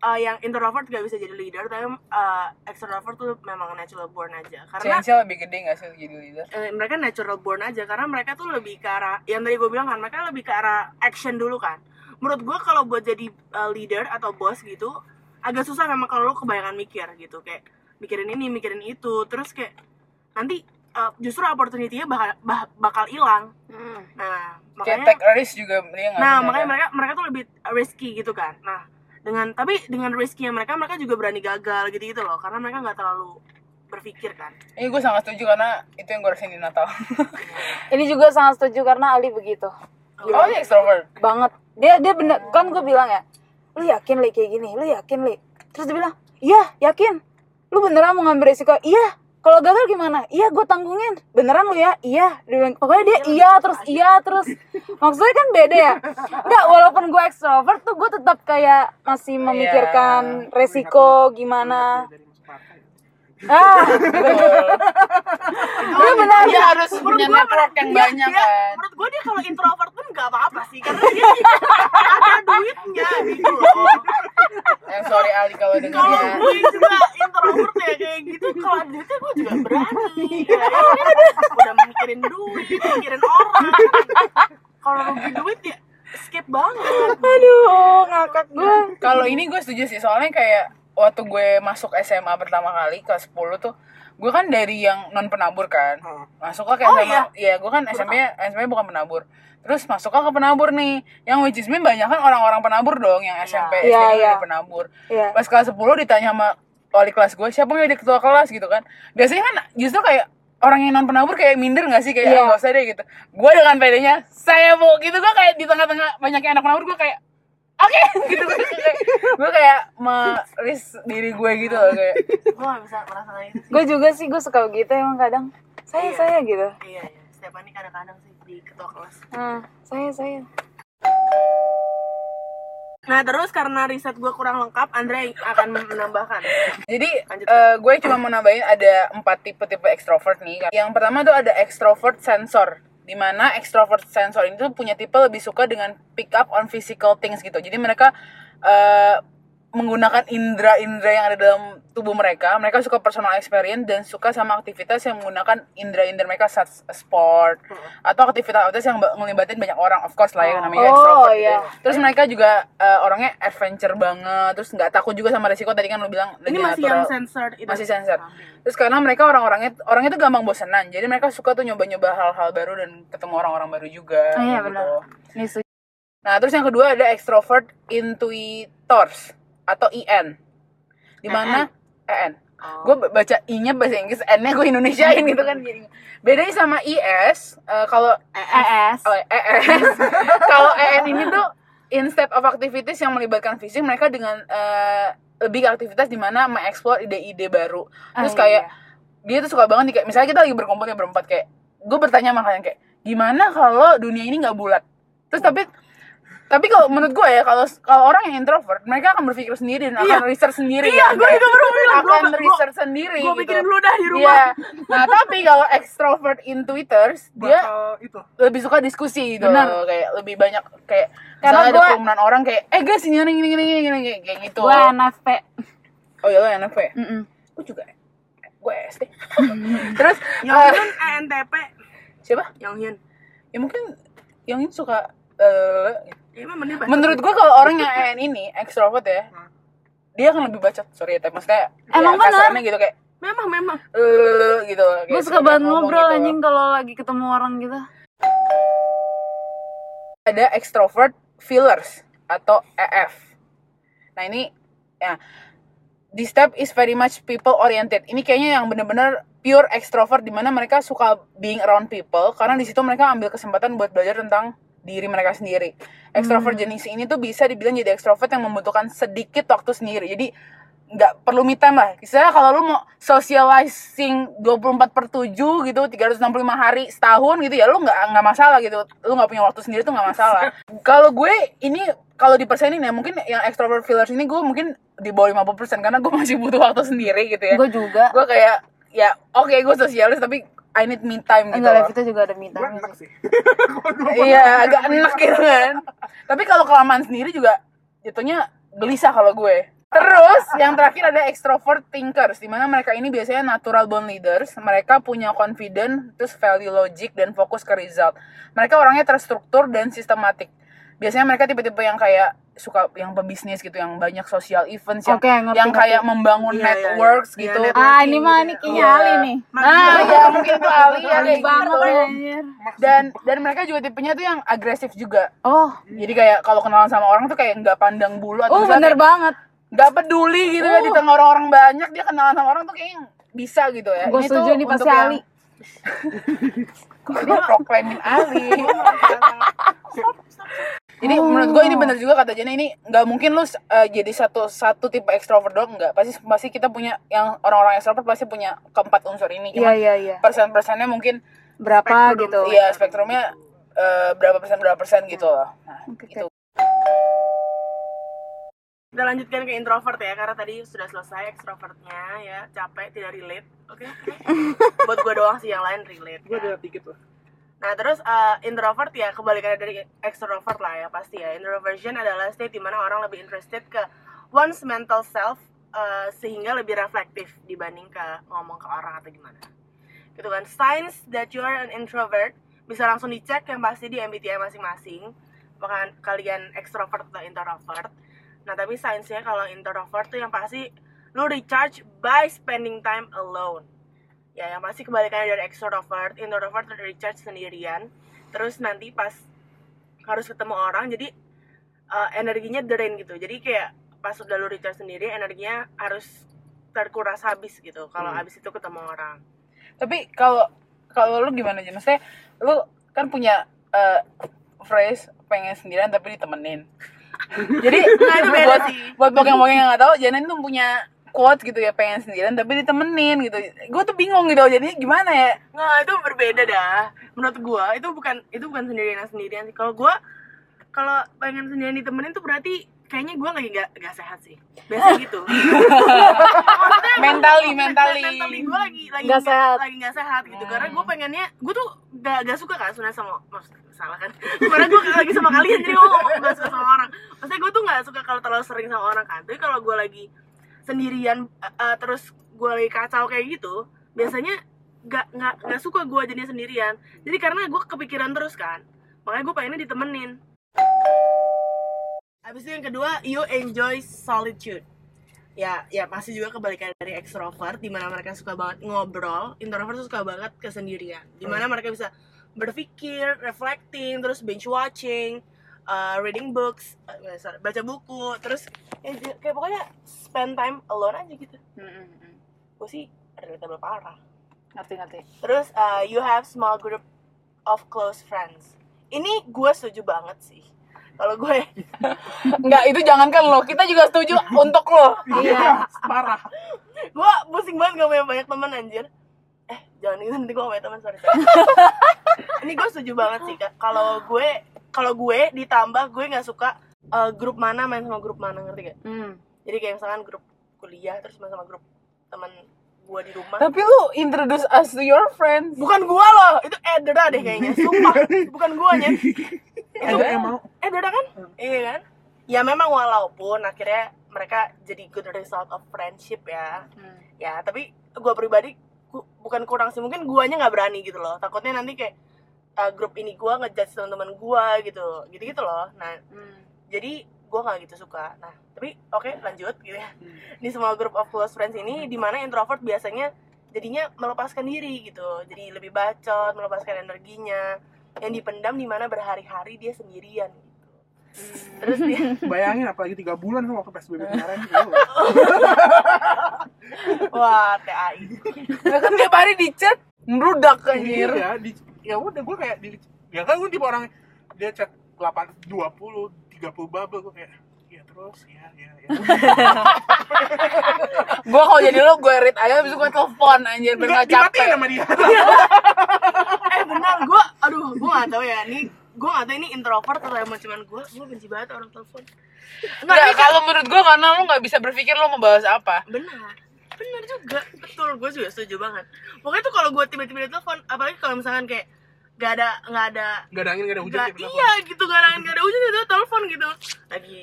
D: eh, yang introvert gak bisa jadi leader, tapi eh, extrovert tuh memang natural born aja. Karena
C: Chance lebih gede gak sih jadi leader?
D: eh, mereka natural born aja karena mereka tuh lebih ke arah yang tadi gue bilang kan mereka lebih ke arah action dulu kan menurut gue kalau buat jadi uh, leader atau bos gitu agak susah memang kalau lo kebanyakan mikir gitu kayak mikirin ini mikirin itu terus kayak nanti uh, justru opportunity-nya bakal bah- bakal hilang nah
C: Kayak ya
D: makanya
C: tech risk juga dia gak
D: nah makanya mereka mereka tuh lebih risky gitu kan nah dengan tapi dengan riskinya mereka mereka juga berani gagal gitu gitu loh karena mereka nggak terlalu berpikir kan
C: Ini gue sangat setuju karena itu yang gue rasain di Natal
B: ini juga sangat setuju karena Ali begitu
C: Oh ini extrovert
B: banget dia dia bener kan gue bilang ya lu yakin li kayak gini lu yakin li terus dia bilang iya yakin lu beneran mau ngambil risiko iya kalau gagal gimana iya gue tanggungin beneran lu ya iya dia bilang, pokoknya dia iya terus iya terus maksudnya kan beda ya nggak walaupun gue extrovert tuh gue tetap kayak masih memikirkan resiko gimana
A: Dari masuk partai.
B: ah dia benar
C: Dia harus punya
D: gua
C: network yang
D: Iya, dia-
C: banyak
D: dia- (laughs)
C: kan
D: Menurut gue dia kalau introvert pun gak apa-apa sih Karena
C: (laughs)
D: dia ada duitnya gitu loh
C: Yang sorry Ali kalau denger
D: Kalau
C: ya
D: gue juga introvert ya kayak gitu Kalau ada duitnya gue juga berani
C: Iya.
D: ya. Udah mikirin duit, mikirin orang Kalau rugi duit ya skip banget
B: aduh ngakak gue
C: Kalau ini gue setuju sih soalnya kayak Waktu gue masuk SMA pertama kali kelas 10 tuh Gue kan dari yang non penabur kan
A: Hmm.
C: masuklah ke
D: Oh,
C: SMA
D: iya.
C: iya gue kan SMP -nya- SMP -nya bukan penabur terus masuklah ke penabur nih yang which is me banyak kan orang-orang penabur dong yang SMP
B: Iya,
C: SMP
B: iya.
C: udah penabur
B: Iya.
C: pas kelas 10 ditanya sama wali kelas gue siapa yang jadi ketua kelas gitu kan biasanya kan justru kayak orang yang non penabur kayak minder gak sih kayak "Ah,
B: Iya.
C: nggak usah deh gitu gue dengan pedenya saya bu gitu gue kayak di tengah-tengah banyaknya anak penabur gue kayak oke (laughs) gitu gue kayak gue kayak meris diri gue gitu loh kayak
D: Gue gak bisa merasakan itu sih
B: gue juga sih gue suka begitu emang kadang saya saya gitu
D: Iya, iya Stephanie kadang-kadang sih di ketua kelas
B: Ah, saya saya
D: Nah terus karena riset gue kurang lengkap, Andre akan menambahkan
C: Jadi
D: Lanjut.
C: eh, gue cuma mau nambahin ada empat tipe-tipe ekstrovert nih. Yang pertama tuh ada ekstrovert sensor di mana ekstrovert sensor ini tuh punya tipe lebih suka dengan pick up on physical things gitu. Jadi mereka eh, menggunakan indera-indera yang ada dalam tubuh mereka. Mereka suka personal experience dan suka sama aktivitas yang menggunakan indera-indera mereka such as sport atau aktivitas-aktivitas yang ba- ngelibatin banyak orang. Of course lah ya namanya
B: Hmm. Oh,
C: extrovert gitu.
B: iya.
C: Terus mereka juga eh, orangnya adventure banget, terus nggak takut juga sama resiko. Tadi kan lo bilang
D: Ini
C: lebih
D: masih yang
C: natural.
D: censored itu.
C: masih sensor. Terus karena mereka orang-orangnya orangnya tuh gampang bosenan, jadi mereka suka tuh nyoba-nyoba hal-hal baru dan ketemu orang-orang baru juga.
D: Oh
B: Ah, iya,
C: gitu.
B: benar. ini su-
C: Nah terus yang kedua ada extrovert intuitors atau IN, dimana EN. Gue baca I-nya bahasa Inggris, N-nya gue Indonesiain gitu kan. Jadi bedanya sama IS, eh, kalau
B: ES
C: Oh, ES. (laughs) Kalau EN ini tuh instead of activities yang melibatkan fisik, mereka dengan eh, lebih ke aktivitas di mana mengeksplor ide-ide baru. Terus
B: Ah,
C: kayak
B: iya.
C: dia tuh suka banget nih kayak misalnya kita lagi berkumpul ya berempat kayak gue bertanya sama kalian kayak gimana kalau dunia ini nggak bulat terus tapi tapi kalau menurut gue ya kalau kalau orang yang introvert mereka akan berpikir sendiri dan akan research sendiri kan,
D: Iya, gue juga baru bilang, gue-
C: akan
D: gue-
C: research sendiri
D: gue
C: gitu.
D: pikirin dulu dah di
C: Iya.
D: rumah.
C: nah tapi kalau extrovert intuiters dia
A: bakal itu
C: lebih suka diskusi gitu
B: Benar.
C: loh kayak lebih banyak kayak
B: Karena
C: karena ada
B: gua-
C: kerumunan orang kayak eh guys ini ini ini ini ini ini kayak gitu
B: Gue NFP.
C: oh iya lo NFP
B: Mm-mm.
C: gue juga gue
B: (laughs)
C: SD terus
B: Ya
D: Yang
C: eh, (laughs)
D: Hyun ENTP,
C: siapa
D: Yang Hyun.
C: ya mungkin yang ini suka eh,
D: Ya, emang bener banget.
C: menurut gue kalau orang yang EN ini extrovert ya dia akan lebih bacot sorry ya tapi maksudnya
B: Hmm. Emang
C: ya,
B: benar.
C: kasarnya gitu kayak
D: memang memang.
C: eh, gitu kayak
B: Gue
C: suka
B: suka banget
C: ngomong
B: ngobrol
C: gitu.
B: anjing kalau lagi ketemu orang gitu.
C: ada extrovert fillers atau EF. Nah ini ya this step is very much people oriented. Ini kayaknya yang bener-bener pure extrovert di mana mereka suka being around people karena di situ mereka ambil kesempatan buat belajar tentang diri mereka sendiri. Extrovert jenis ini tuh bisa dibilang jadi extrovert yang membutuhkan sedikit waktu sendiri. Jadi nggak perlu me time lah. Misalnya kalau lu mau socializing 24 per 7 gitu, 365 hari setahun gitu ya lu nggak nggak masalah gitu. Lu nggak punya waktu sendiri tuh nggak masalah. kalau gue ini kalau dipersenin ya mungkin yang extrovert fillers ini gue mungkin di bawah 50% karena gue masih butuh waktu sendiri gitu ya.
B: Gue juga.
C: Gue kayak ya oke gue sosialis tapi I need me time gitu.
B: Enggak,
C: loh.
B: Levita juga ada minta.
A: gue enak sih
C: Iya, agak enak gitu kan. Tapi kalau kelamaan sendiri juga jatuhnya gelisah kalau gue. Terus yang terakhir ada extrovert thinkers, di mana mereka ini biasanya natural born leaders. Mereka punya confident, terus value logic dan fokus ke result. Mereka orangnya terstruktur dan sistematik. Biasanya mereka tipe-tipe yang kayak suka yang pebisnis gitu, yang banyak social events, yang,
B: Oke, ngerti,
C: yang kayak
B: ngerti.
C: membangun
D: Iya, iya, iya.
C: networks
D: Iya,
C: gitu.
D: network.
B: Ah, ini mah ini kayaknya
C: Iya.
B: Ali nih. Ah, iya,
C: Nah,
D: Maksudnya-
C: ya mungkin itu Ali ya,
B: Ali
C: kayak
B: banget
C: gitu.
B: lu, anjir.
C: Dan dan mereka juga tipenya tuh yang agresif juga.
B: Oh,
C: Jadi kayak kalau kenalan sama orang tuh kayak nggak pandang bulu atau
B: oh
C: misalnya
B: bener Oh.
C: kayak
B: banget.
C: nggak peduli gitu ya di tengah orang-orang banyak dia kenalan sama orang tuh kayaknya bisa gitu ya.
B: Gue
C: tuh
B: setuju nih
C: untuk
B: pasti
C: yang-
B: Ali.
C: (laughs) Dia proklamin
B: (laughs)
C: Ali. Jadi
B: Oh.
C: menurut gue ini bener juga kata Jana ini nggak mungkin lu eh, jadi satu satu tipe ekstrovert doang nggak pasti pasti kita punya yang orang-orang ekstrovert pasti punya keempat unsur ini
B: Iya
C: Cuman
B: iya iya.
C: persen-persennya mungkin
B: Berapa
D: Spektrum,
B: gitu?
C: Iya, spektrumnya eh, berapa persen berapa persen gitu loh. Nah,
B: Oke,
C: itu.
D: Kita lanjutkan ke introvert ya, karena tadi sudah selesai extrovertnya ya, capek tidak relate. Oke.
C: (laughs)
D: oke. Buat gue doang sih yang lain relate.
A: gue
D: ya.
A: ada dikit loh
D: Nah, terus eh, introvert ya kebalikannya dari extrovert lah ya pasti ya. Introversion adalah state di mana orang lebih interested ke one's mental self eh, sehingga lebih reflektif dibanding ke ngomong ke orang atau gimana. Gitu kan. Signs that you are an introvert bisa langsung dicek yang pasti di MBTI masing-masing. Bahkan kalian extrovert atau introvert. Nah, tapi signs-nya kalau introvert tuh yang pasti lu recharge by spending time alone ya yang pasti kebalikannya dari extrovert introvert recharge sendirian terus nanti pas harus ketemu orang jadi uh, energinya drain gitu jadi kayak pas udah lu recharge sendiri energinya harus terkuras habis gitu kalau habis itu ketemu orang
C: Tapi kalau kalau lu gimana aja? Maksudnya lu kan punya eh, phrase pengen sendirian tapi ditemenin. Jadi
D: (laughs) Nah, itu beda
C: buat,
D: sih.
C: buat bokeng-bokeng yang gak tau, Janen tuh punya quote gitu ya pengen sendirian tapi ditemenin gitu. Gue tuh bingung gitu, jadinya gimana ya?
D: Nah, itu berbeda dah. Menurut gua itu bukan itu bukan sendirian sendirian sih. Kalau gua kalau pengen sendirian ditemenin tuh berarti kayaknya gua lagi gak, gak sehat sih. Biasanya
C: (laughs)
D: gitu. Maksudnya emang
C: Mentally,
D: gua-
C: mentally.
D: Mentally gua lagi lagi
B: Gak
D: gak,
B: sehat.
D: lagi gak sehat gitu. Karena gua pengennya gua tuh gak, gak suka kan sebenarnya sama maksud- salah kan. (laughs) Karena gua lagi sama kalian jadi gua ngomong gak suka sama orang. Maksudnya gua tuh gak suka kalau terlalu sering sama orang kan. Tapi kalau gua lagi sendirian eh, eh, terus gue lagi kacau kayak gitu biasanya nggak nggak nggak suka gue jadinya sendirian jadi karena gue kepikiran terus kan makanya gue pengennya ditemenin Habis itu yang kedua you enjoy solitude ya ya pasti juga kebalikan dari extrovert dimana mereka suka banget ngobrol introvert tuh suka banget kesendirian dimana mereka bisa berpikir reflecting terus binge watching uh, reading books eh, sorry, baca buku terus ya, j- kayak pokoknya spend time alone aja gitu gue sih relatable parah
C: Ngerti-ngerti.
D: terus uh, you have small group of close friends ini gue setuju banget sih kalau ya, gue
C: Enggak, itu jangankan lo. Kita
D: (laughs)
C: juga setuju untuk lo. (laughs)
A: iya parah
D: gue pusing banget gak punya banyak teman anjir eh jangan gitu nanti gue sama teman sorry ini gue setuju banget sih Kak. kalau gue kalau gue ditambah gue nggak suka eh, grup mana main sama grup mana ngerti gak
B: Hmm.
D: jadi kayak misalkan grup kuliah terus main sama grup teman gue di rumah
C: Tapi lu introduce us to your friends.
D: bukan gua loh itu Edra deh kayaknya sumpah bukan guanya
A: Ada yang mau
D: Edra kan iya kan ya memang walaupun akhirnya mereka jadi good result of friendship ya
B: Hmm.
D: ya tapi gua pribadi ku- bukan kurang sih mungkin guanya nggak berani gitu loh takutnya nanti kayak uh, grup ini gua ngejudge teman-teman gua gitu gitu gitu loh nah
B: Hmm.
D: jadi gua nggak gitu suka nah tapi oke lanjut gitu ya di semua grup of close friends ini di mana introvert biasanya jadinya melepaskan diri gitu jadi lebih bacot melepaskan energinya yang dipendam di mana berhari-hari dia sendirian gitu terus dia
A: (laughs) bayangin apalagi tiga bulan kan waktu PSBB kemarin. gitu.
D: wah TAI
C: Nah, kan tiap hari di chat merudak anjir.
A: Iya, di, ya udah gue kayak di, ya kan gue tipe orang dia chat 8 20 30 bubble gue kayak ya terus ya ya
B: (laughs)
A: ya.
C: Gua kalau jadi lu gue read aja habis itu gue telepon anjir biar
A: Enggak
C: gak capek.
A: dimatiin sama dia. (laughs)
D: eh benar gue aduh gue nggak tahu ya ini gue nggak tahu ini introvert atau emang cuman gue gue benci banget orang telepon Nggak,
C: Nggak,
D: ini kan-
C: kalau menurut gue karena lu gak bisa berpikir lu mau bahas apa.
D: benar benar juga betul gue juga setuju banget pokoknya tuh kalau gue tiba-tiba telepon apalagi kalau misalkan kayak gak ada nggak ada
A: Enggak ada angin, enggak ada hujan.
B: Nah,
D: nggak
A: tiba-tiba.
D: iya gitu gak ada gak ada hujan itu telepon gitu lagi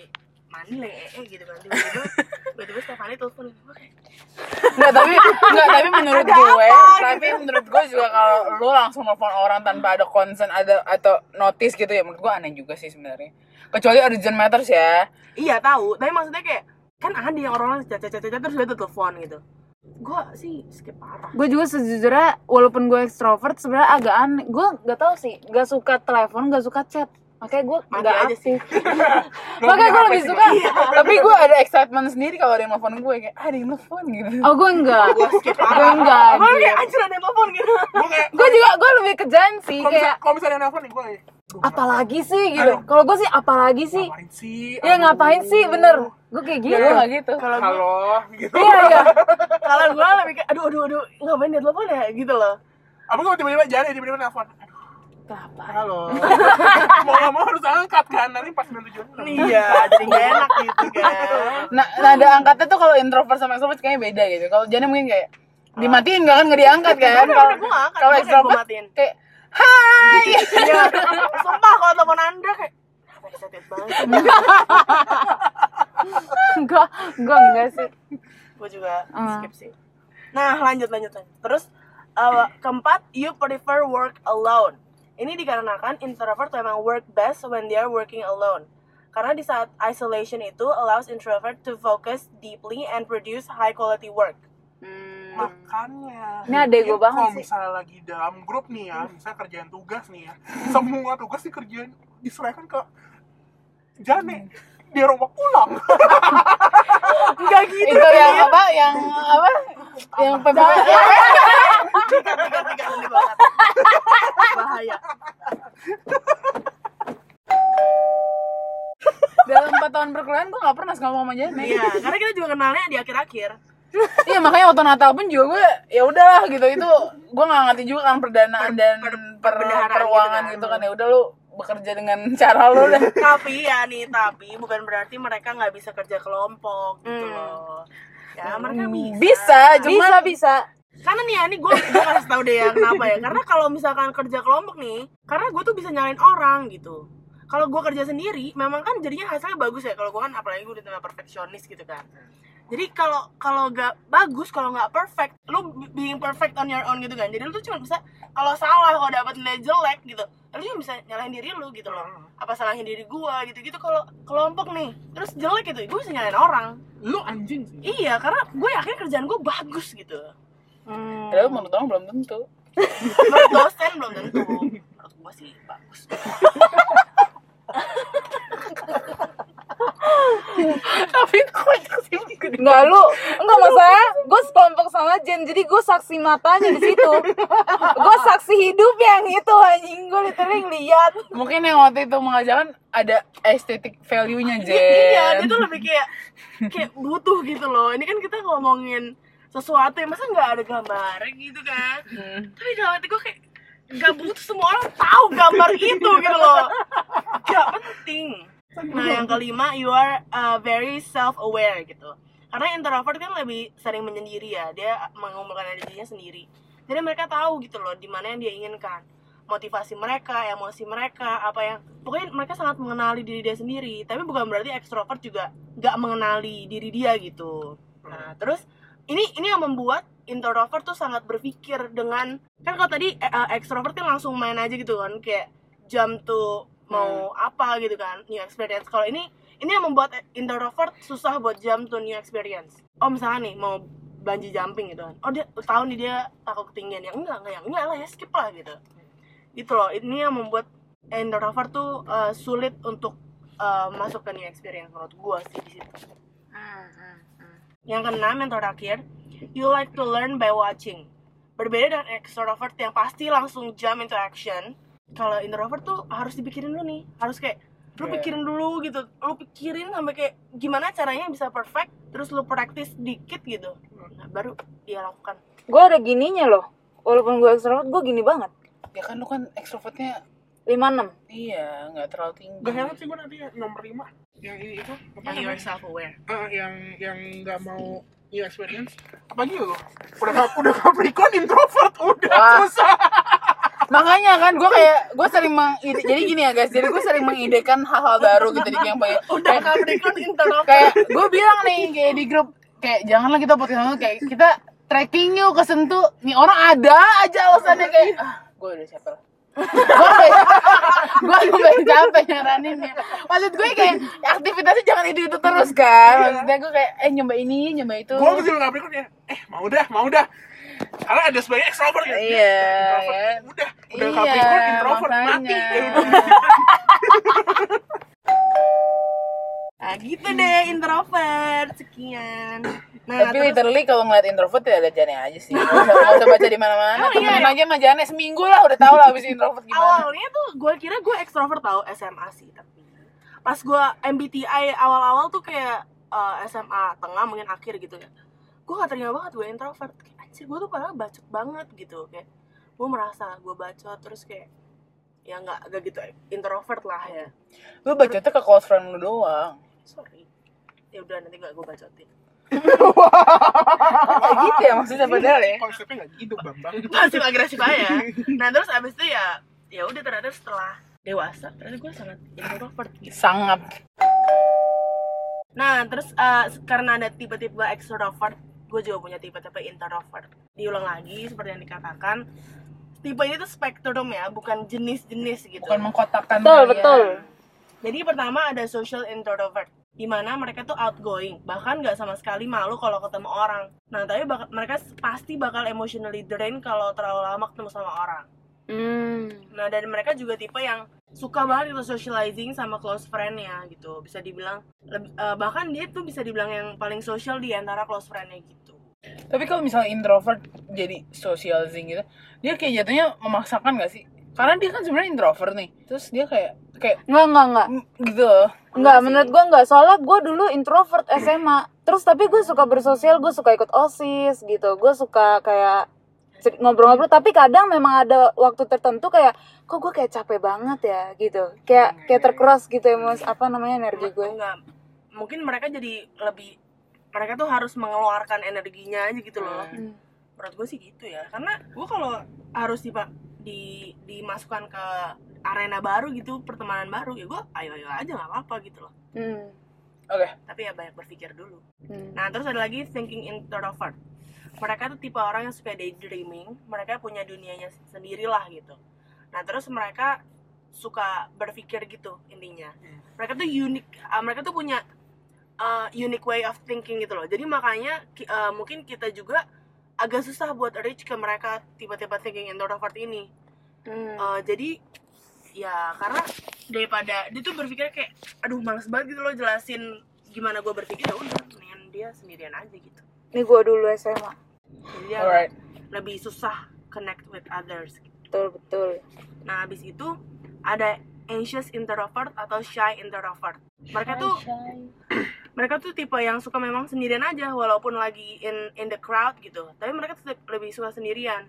D: mandi le eh gitu kan tiba-tiba tiba-tiba Stefani telepon gue kayak,
C: Nggak, tapi (laughs) nggak, tapi menurut gue, tapi menurut gue juga kalau lu langsung nelfon orang tanpa ada concern ada atau notice gitu ya menurut gue aneh juga sih sebenarnya. Kecuali urgent matters (laughs) ya.
D: iya tahu tapi maksudnya kayak kan ada yang orang caca caca caca terus dia tuh telepon gitu gue sih skip parah
B: gue juga sejujurnya walaupun gue ekstrovert sebenarnya agak aneh gue nggak tahu sih nggak suka telepon nggak suka chat makanya gue
D: Mati
B: nggak
D: aja
B: aktif makanya gue lebih suka
C: Tapi gue ada excitement sendiri kalau ada yang nelfon gue kayak ah ada yang nelfon gitu.
B: oh gue enggak
D: gue skip parah
B: gue enggak
D: gue kayak anjir ada yang telepon gitu
A: Gue kayak
B: gue juga gue lebih ke Jan sih
A: kalau misal-
B: kayak
A: kalau misalnya nelfon nih gue kayak, "Duh,
B: apalagi sih gitu kalau gue sih apalagi sih
A: ngapain sih?
B: ya
A: Aduh.
B: ngapain sih bener gue kayak
C: Ya
B: gitu
C: gue gak gitu.
D: kalau gue
A: Halo gitu.
B: iya iya
D: kalau gue lebih kayak aduh aduh aduh ngapain dia telepon ya gitu loh
A: Apa gue tiba-tiba jadi tiba-tiba nelfon. Aduh,
B: kenapa (laughs)
A: Halo. mau nggak mau harus angkat kan nanti pas 97.
D: Iya, jadi gak enak gitu kan.
C: Nah, nada angkatnya tuh kalau introvert sama extrovert kayaknya beda gitu. Kalau Jana mungkin kayak dimatiin nggak kan nggak diangkat kan?
D: Udah,
C: Kalau
D: udah, gua nggak angkat, gua kayak
C: kalau
D: gua
C: extrovert
D: matiin.
C: kayak Hai.
D: Iya, sumpah kalau telepon Anda kayak "Ah, excited banget.
B: enggak gue enggak sih
D: Gue juga
B: Ah.
D: skip sih. Nah, lanjut lanjut lanjut. Terus eh, keempat, you prefer work alone. Ini dikarenakan introvert memang work best when they are working alone. Karena di saat isolation itu allows introvert to focus deeply and produce high quality work.
A: Makanya.
B: Ini adek
A: Mungkin
B: gue banget
A: Iya, Kalau
B: sih.
A: misalnya lagi dalam grup nih ya, misalnya kerjaan tugas nih ya, semua tugas dikerjain diserahkan ke
B: Hmm.
A: Jane. Dia rombak pulang.
D: Enggak
C: (laughs)
D: gitu.
C: itu yang apa yang apa yang PPW
D: Tiga, tiga,
C: (laughs)
D: ini banget. Bahaya.
C: dalam 4 tahun perkuliahan gue gak pernah ngomong sama Jana
D: Iya, karena kita juga kenalnya di akhir-akhir.
C: iya makanya waktu Natal pun juga gue ya udahlah gitu itu gue gak ngerti juga kan perdanaan dan per,
D: perbendaharaan
C: peruangan
D: gitu kan.
C: gitu kan ya udah lu bekerja dengan cara lu dan
D: tapi ya nih tapi bukan berarti mereka nggak bisa kerja kelompok gitu loh ya mereka bisa
C: Hmm. bisa
B: bisa
C: cuma
B: bisa
D: karena nih ya nih gue gue kasih tau deh ya kenapa ya karena kalau misalkan kerja kelompok nih karena gue tuh bisa nyalain orang gitu kalau gue kerja sendiri memang kan jadinya hasilnya bagus ya kalau gue kan apalagi gue udah tambah perfeksionis gitu kan jadi kalau kalau nggak bagus kalau nggak perfect lu being perfect on your own gitu kan jadi lu tuh cuma bisa kalau salah kalau dapat nilai jelek gitu lu cuma bisa nyalahin diri lu gitu loh apa salahin diri gue gitu gitu kalau kelompok nih terus jelek gitu gue bisa nyalain orang
A: Lu anjing sih.
D: iya karena gue yakin kerjaan gue bagus gitu
C: padahal Iya, menurut orang belum tentu
D: menurut dosen belum tentu menurut gue sih bagus
C: tapi kok sih
B: Enggak lu, enggak masalah. Gue sekelompok sama Jen, jadi gue saksi matanya di situ. Gue saksi hidup yang itu anjing gue literally lihat.
C: mungkin yang waktu itu mengajarkan ada estetik (laughs) value-nya Jen
D: iya dia tuh lebih kayak kayak butuh gitu loh ini kan kita ngomongin sesuatu ya masa nggak ada gambarnya gitu kan tapi dalam hati gue kayak gak butuh semua orang tahu gambar itu gitu loh gak penting nah yang kelima you are uh, very self aware gitu karena introvert kan lebih sering menyendiri ya dia mengumpulkan energinya sendiri jadi mereka tahu gitu loh di mana yang dia inginkan motivasi mereka emosi mereka apa yang pokoknya mereka sangat mengenali diri dia sendiri tapi bukan berarti ekstrovert juga gak mengenali diri dia gitu nah terus ini ini yang membuat introvert tuh sangat berpikir dengan kan kalau tadi eh, extrovert kan langsung main aja gitu kan kayak jam tuh mau apa gitu kan new experience kalau ini ini yang membuat introvert susah buat jam to new experience oh misalnya nih mau banji jumping gitu kan oh dia tahun nih dia takut ketinggian yang enggak enggak yang enggak lah ya skip lah gitu gitu loh ini yang membuat introvert tuh eh, sulit untuk eh, masuk ke new experience menurut gua sih di situ yang keenam yang terakhir, you like to learn by watching. Berbeda dengan extrovert yang pasti langsung jump into action. Kalau introvert tuh harus dipikirin dulu nih, harus kayak
C: Iya.
D: lu pikirin dulu gitu, lu pikirin sampai kayak gimana caranya bisa perfect, terus lu praktis dikit gitu, nah, baru dia lakukan.
B: Gue ada gininya loh. Walaupun gue extrovert, gue gini banget.
C: ya kan lu kan ekstrovertnya
B: 56.
C: iya nggak terlalu
A: (laughs)
C: tinggi
A: Gak heran sih gue nanti yang nomor 5 yang ini itu apa
D: Nah, you are
A: namanya?
D: self aware.
A: Eh, yang yang nggak mau new experience apalagi lu udah Cap- udah Capricorn introvert udah
C: Wah.
A: susah
C: (laughs) makanya kan gue kayak gue sering mengide jadi gini ya guys jadi gue sering mengidekan hal-hal baru gitu di yang kayak
D: Udah Capricorn introvert.
C: kayak gue bilang nih kayak di grup kayak janganlah kita podcast sama kayak kita tracking yuk ke Sentul. nih orang ada aja alasannya kayak ah, gue udah capek lah gue (laughs) gue lumayan capek nyaraninnya maksud gue kayak aktivitasnya jangan itu itu terus kan
A: Iya.
C: maksudnya gue kayak eh nyoba ini nyoba itu
A: gue mesti lu Capricorn ya eh mau dah mau dah karena ada sebagai extrovert ya
C: Iya,
A: Introvert,
B: ya.
C: kan?
A: udah udah
C: Iya,
A: Capricorn introvert mati
C: makanya.
A: ya (laughs) udah
D: Nah gitu deh introvert sekian. Nah,
C: tapi
D: terus-
C: literally kalau ngeliat introvert ya ada jane aja sih nggak usah, nggak usah baca di mana-mana
D: Oh, iya.
C: temenin aja sama jane seminggu lah udah tau lah abis introvert gimana
D: awalnya tuh gue kira gue ekstrovert tau SMA sih tapi pas gue MBTI awal-awal tuh kayak eh, SMA tengah mungkin akhir gitu ya gue gak terima banget gue introvert kayak anjir gue tuh padahal bacot banget gitu kayak gue merasa gue bacot terus kayak ya nggak gak gitu introvert lah ya
C: gue baca tuh ke close friend lu doang
D: sorry ya udah nanti gak gue bacotin
C: kayak gitu ya maksudnya padahal
A: Iya,
C: ya
A: konsepnya nggak gitu bambang
D: pasif agresif aja nah terus abis itu ya ya udah ternyata setelah dewasa ternyata gue sangat introvert gitu
C: sangat
D: Nah, terus eh, karena ada tipe-tipe extrovert, gue juga punya tipe-tipe introvert. Diulang lagi seperti yang dikatakan, tipe ini tuh spektrum ya, bukan jenis-jenis gitu. Iya.
C: bukan mengkotakkan ya.
B: Betul,
C: kalian.
B: betul.
D: Jadi pertama ada social introvert, di mana mereka tuh outgoing, bahkan nggak sama sekali malu kalau ketemu orang. Nah, tapi bak- mereka pasti bakal emotionally drained kalau terlalu lama ketemu sama orang.
B: Hmm.
D: Nah, dan mereka juga tipe yang suka banget itu socializing sama close friend-nya gitu. Bisa dibilang leb- eh, bahkan dia tuh bisa dibilang yang paling social di antara close friend-nya gitu.
C: tapi kalau misalnya introvert jadi socializing gitu dia kayak jatuhnya memaksakan gak sih karena dia kan sebenarnya introvert nih terus dia kayak kayak
B: Enggak, enggak, enggak.
C: mm, gitu loh
B: Enggak, menurut gue enggak. Soalnya gue dulu introvert SMA. Terus tapi gue suka bersosial, gue suka ikut OSIS gitu. Gue suka kayak cer- ngobrol-ngobrol. Tapi kadang memang ada waktu tertentu kayak, kok gue kayak capek banget ya gitu. Kayak kayak terkuras gitu emos apa namanya energi
C: Nah,
B: gue.
D: Enggak mungkin mereka jadi lebih mereka tuh harus mengeluarkan energinya aja gitu loh.
B: Hmm.
D: Menurut gue sih gitu ya. Karena gue kalau harus dipa- di dimasukkan ke arena baru gitu, pertemanan baru ya gue ayo-ayo aja nggak apa-apa gitu loh.
B: Hmm.
C: oke
D: Tapi ya banyak berpikir dulu.
B: Hmm.
D: Nah, terus ada lagi thinking introvert. Mereka tuh tipe orang yang suka daydreaming, mereka punya dunianya sendirilah gitu. Nah, terus mereka suka berpikir gitu intinya. Mereka tuh unik, uh, mereka tuh punya uh, unique way of thinking gitu loh. Jadi makanya ki- uh, mungkin kita juga agak susah buat reach ke mereka tipe-tipe thinking introvert ini.
B: Hmm.
D: Uh, jadi ya karena daripada dia tuh berpikir kayak aduh males banget gitu loh jelasin gimana gue berpikir ya udah mendingan dia sendirian aja gitu
B: Ini gue dulu SMA.
D: jadi dia
C: alright
D: lebih susah connect with others gitu.
B: Betul, betul.
D: nah habis itu ada anxious introvert atau shy introvert mereka tuh (clears throat) mereka tuh tipe yang suka memang sendirian aja walaupun lagi in in the crowd gitu tapi mereka tetap lebih suka sendirian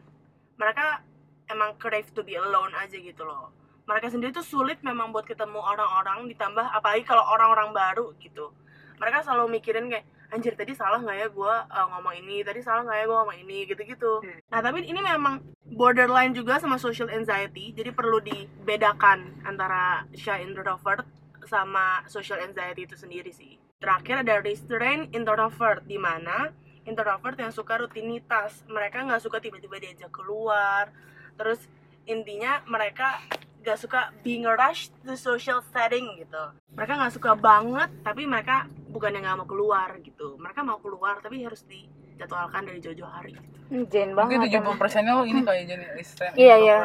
D: mereka emang crave to be alone aja gitu loh mereka sendiri tuh sulit memang buat ketemu orang-orang ditambah apalagi kalau orang-orang baru gitu mereka selalu mikirin kayak anjir tadi salah nggak ya gue ngomong ini tadi salah nggak ya gue ngomong ini gitu-gitu
A: Hmm.
D: nah tapi ini memang borderline juga sama social anxiety jadi perlu dibedakan antara shy introvert sama social anxiety itu sendiri sih terakhir ada restrained introvert di mana introvert yang suka rutinitas mereka nggak suka tiba-tiba diajak keluar terus intinya mereka gak suka being rushed to social setting gitu mereka nggak suka banget tapi mereka bukannya nggak mau keluar gitu mereka mau keluar tapi harus dijadwalkan dari jauh-jauh hari gitu.
B: Hmm, Jen
C: Mungkin 70
B: banget. emang.
C: persennya lo ini kayak jadi listen.
B: Iya, iya.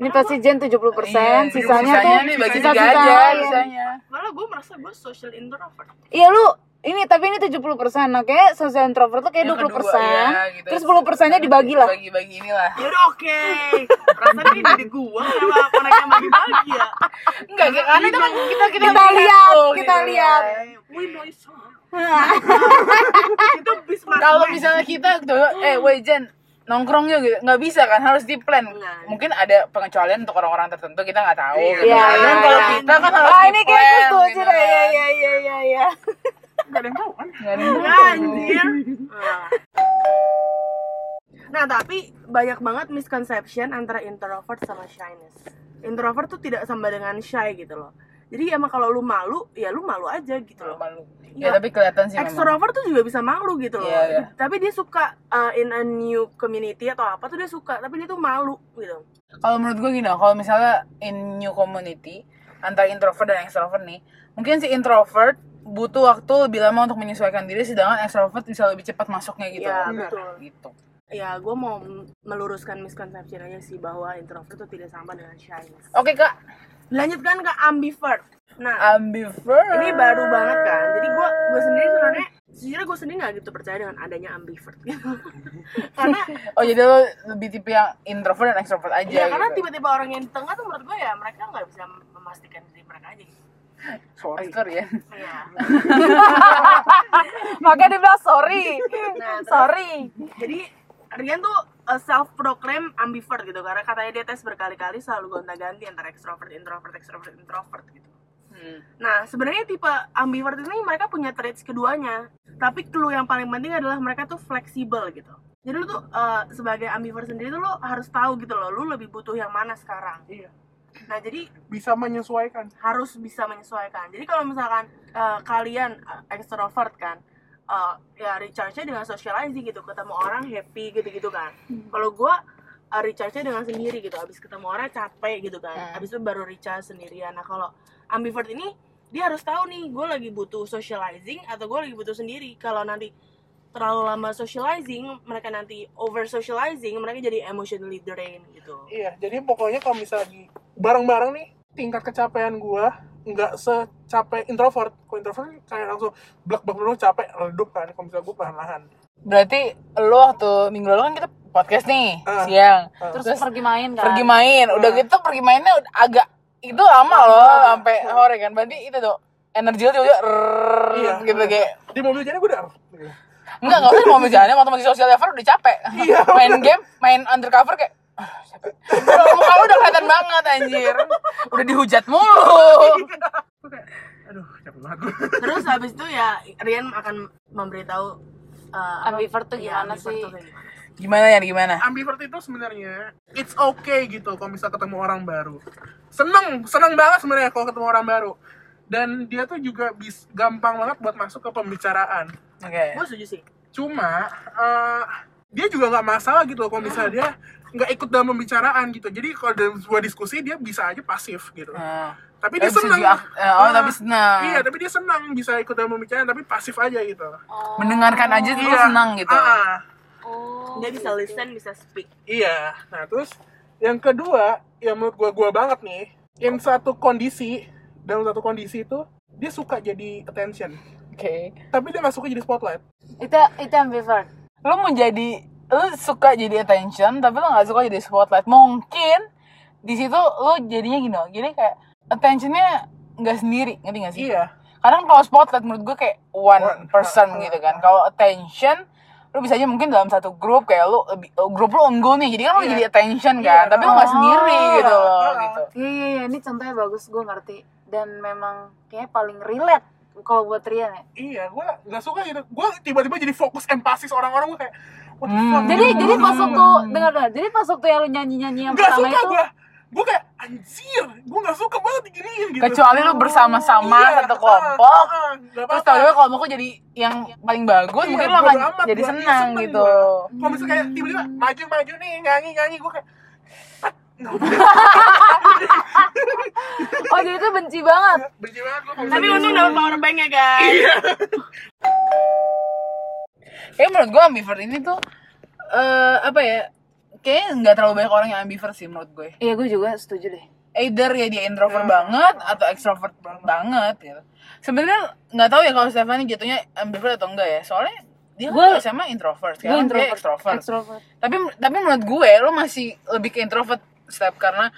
B: Ini pasti Jen 70 persen,
C: Iya,
B: sisanya
C: sisanya
B: tuh
C: nih bagi
B: sisa-sisa
C: tiga aja,
B: yang-
C: sisanya.
D: malah gue merasa gue social introvert
B: Iya lu ini tapi ini 70 persen, oke? Sosial introvert tuh kayak
C: Yang
B: 20
C: kedua,
B: persen.
C: ya, gitu.
B: Terus 10 persennya dibagi lah.
C: Bagi-bagi inilah.
D: ya udah oke rasanya ini dari gue kenapa mereka yang bagi-bagi ya
C: Enggak, karena itu kan kita kita,
B: Kita lihat,
C: tuh,
B: kita
C: gitu.
B: lihat.
D: Iya, we know it's all. itu bisnis
C: Kalau misalnya kita tuh, eh, wait Jen, nongkrong yuk gitu. Nggak bisa kan, harus di plan.
D: Nggak.
C: Mungkin ada pengecualian untuk orang-orang tertentu kita nggak tahu. gitu.
B: Iya,
C: Cuman
B: iya,
C: kalau
B: iya.
C: kita kan harus
B: Wah,
C: di
B: ini kayak gue
C: plan,
B: setuju
C: gitu
B: deh. Iya,
C: kan. Iya,
B: iya, iya, iya, iya.
A: Gak ada yang tahu kan?
C: Nggak ada yang
D: Ya,
C: tahu.
D: anjir. Nah, tapi banyak banget misconception antara introvert sama shyness. Introvert tuh tidak sama dengan shy gitu loh. Jadi emang kalau lu malu, ya lu malu aja gitu loh.
C: Malu.
D: Iya.
C: Ya, tapi kelihatan sih memang.
D: Extrovert tuh juga bisa malu gitu loh.
C: Iya, iya.
D: Tapi dia suka uh, in a new community atau apa tuh dia suka, tapi dia tuh malu gitu.
C: kalau menurut gue gini, nah, kalau misalnya in new community antara introvert dan extrovert nih, mungkin si introvert butuh waktu lebih lama untuk menyesuaikan diri, sedangkan extrovert bisa lebih cepat masuknya gitu.
D: Iya,
C: loh.
D: betul.
C: Gitu.
D: Ya, gue mau meluruskan misconception aja sih bahwa introvert tuh tidak sama dengan shyness.
C: Oke kak,
D: Lanjutkan ke ambivert. Nah,
C: ambivert.
D: ini baru banget kan jadi gue gue sendiri sebenarnya sejujurnya gue sendiri nggak gitu percaya dengan adanya ambivert (laughs) gitu karena
C: Oh jadi lo lebih tipe yang introvert dan extrovert aja.
B: Iya,
D: ya karena
C: gitu.
D: tiba-tiba orang yang di tengah tuh menurut gue ya mereka nggak bisa memastikan diri mereka aja gitu
A: Sorry.
C: Oscar
B: (laughs)
C: ya.
D: Iya.
B: Makanya dia bilang sorry.
D: Nah, terus-
B: sorry.
D: jadi Rian tuh self proclaim ambivert gitu karena katanya dia tes berkali-kali selalu gonta-ganti antara extrovert introvert extrovert introvert gitu
C: Hmm.
D: Nah, sebenarnya tipe ambivert ini mereka punya traits keduanya. Tapi clue yang paling penting adalah mereka tuh fleksibel gitu. Jadi lu tuh eh, sebagai ambivert sendiri tuh lu harus tahu gitu loh, lu lebih butuh yang mana sekarang.
A: Iya.
D: Nah, jadi
A: Bisa menyesuaikan.
D: harus bisa menyesuaikan. Jadi kalau misalkan eh, kalian eh, extrovert kan, eh, ya recharge-nya dengan socializing gitu, ketemu orang happy gitu-gitu kan. Kalau gua eh, recharge-nya dengan sendiri gitu, abis ketemu orang capek gitu kan,
C: Hmm.
D: abis itu baru recharge sendirian. Nah kalau ambivert ini dia harus tahu nih, gue lagi butuh socializing atau gue lagi butuh sendiri. Kalau nanti terlalu lama socializing, mereka nanti over socializing, mereka jadi emotionally drained gitu.
A: Iya, jadi pokoknya kalau misalnya di bareng-bareng nih, tingkat kecapean gua nggak secapek introvert. Kalau introvert kan kayak langsung blak blak dulu capek redup kan. Kalau misalnya gua perlahan-lahan.
C: Berarti lo waktu minggu lalu kan kita podcast nih
A: Ah.
C: siang.
B: Terus,
C: Terus
B: pergi main kan.
C: pergi main udah gitu pergi mainnya udah agak itu lama loh sampai sore kan berarti itu tuh energi lo tiba-tiba rrrr,
A: Iya.
C: gitu kayak
A: Di mobil jadi gua udah. gitu.
C: enggak enggak usah mau jalannya waktu masih social level udah capek
A: Iya.
C: (laughs) main game main undercover kayak ah, capek. Udah, muka lo udah kelihatan banget anjir udah dihujat mulu
B: (laughs)
A: Gua kayak, Aduh, capek banget gua.
D: Terus habis itu ya Rian akan memberitahu uh, apa-
B: Ambivert tuh
D: Iya,
B: gimana
D: ambivert
B: sih?
D: tuh kayak gimana.
C: gimana ya gimana
A: Ambivert itu sebenarnya it's okay gitu kalau misal ketemu orang baru. Seneng, seneng banget sebenarnya kalau ketemu orang baru. Dan dia tuh juga bis, gampang banget buat masuk ke pembicaraan.
C: oke
D: Gue setuju sih.
A: cuma eh, dia juga nggak masalah gitu loh kalau misalnya dia nggak ikut dalam pembicaraan gitu jadi kalau dalam sebuah diskusi dia bisa aja pasif gitu
C: Nah.
A: tapi dia
C: Eh, bisa
A: senang
C: juga ak- eh, oh,
A: Ah,
C: tapi senang.
A: iya tapi dia senang bisa ikut dalam pembicaraan tapi pasif aja gitu
C: mendengarkan aja tuh lo
A: Iya.
C: senang gitu
A: Ah, ah.
B: Oh.
D: Dia bisa listen, bisa speak.
A: iya nah terus yang kedua yang menurut gua gua banget nih yang satu kondisi dalam satu kondisi itu dia suka jadi attention
C: oke
A: tapi dia nggak suka jadi spotlight
B: Itu itu ambivert.
C: lu menjadi lu suka jadi attention tapi lu nggak suka jadi spotlight mungkin oh. di situ lu jadinya gini loh, jadi kayak attentionnya nggak sendiri ngerti nggak sih
A: iya
C: kadang kalau spotlight menurut gue kayak
A: One.
C: one person gitu kan kalau attention lu bisa aja mungkin dalam satu grup kayak lu lebih grup lu ongo nih jadi kan lu
A: Iya.
C: jadi attention kan tapi lu nggak
B: Oh.
C: sendiri gitu loh
A: Iya.
C: gitu
B: Iya, iya, iya. ini contohnya bagus, gue ngerti. Dan memang kayaknya paling relate kalau buat Rian ya.
A: iya gue nggak suka gitu gue tiba-tiba jadi fokus empasis orang-orang gue kayak what the
C: Hmm.
A: fuck
B: Jadi
A: gitu.
B: jadi pas waktu dengar dengar, jadi pas waktu yang lu nyanyi-nyanyi yang
A: nggak
B: pertama
A: suka
B: itu
A: gue gue kayak anjir gue nggak suka banget diginiin gitu
C: kecuali lu bersama-sama
A: Iya,
C: satu
A: ah,
C: kelompok
A: ah, nggak
C: terus
A: apa-apa.
C: tiba-tiba kelompokku jadi yang paling bagus
A: Iya,
C: mungkin lu akan
A: bodo amat,
C: jadi
A: gua- iya,
C: senang
A: seneng
C: gitu
A: gua. kalau misalnya kayak tiba-tiba maju maju nih nyanyi nyanyi gue kayak
B: Oh, jadi itu benci banget.
A: benci banget gue kalau
D: Tapi
A: misalnya-
D: untung dapat power bank ya guys.
A: iya
C: kayak menurut gue ambivert ini tuh eh apa ya kayaknya nggak terlalu banyak orang yang ambivert sih menurut gue
B: Iya, gue juga setuju deh.
C: either ya dia introvert
A: Ya.
C: banget atau extrovert banget gitu. Sebenarnya nggak tahu ya kalau Stephanie jatuhnya ambivert atau enggak ya. Soalnya dia kan
B: Gua-
C: sama introvert,
B: Gue
C: sekarang dia
B: introvert,
C: extrovert.
B: extrovert.
C: Tapi tapi menurut gue lo masih lebih ke introvert step karena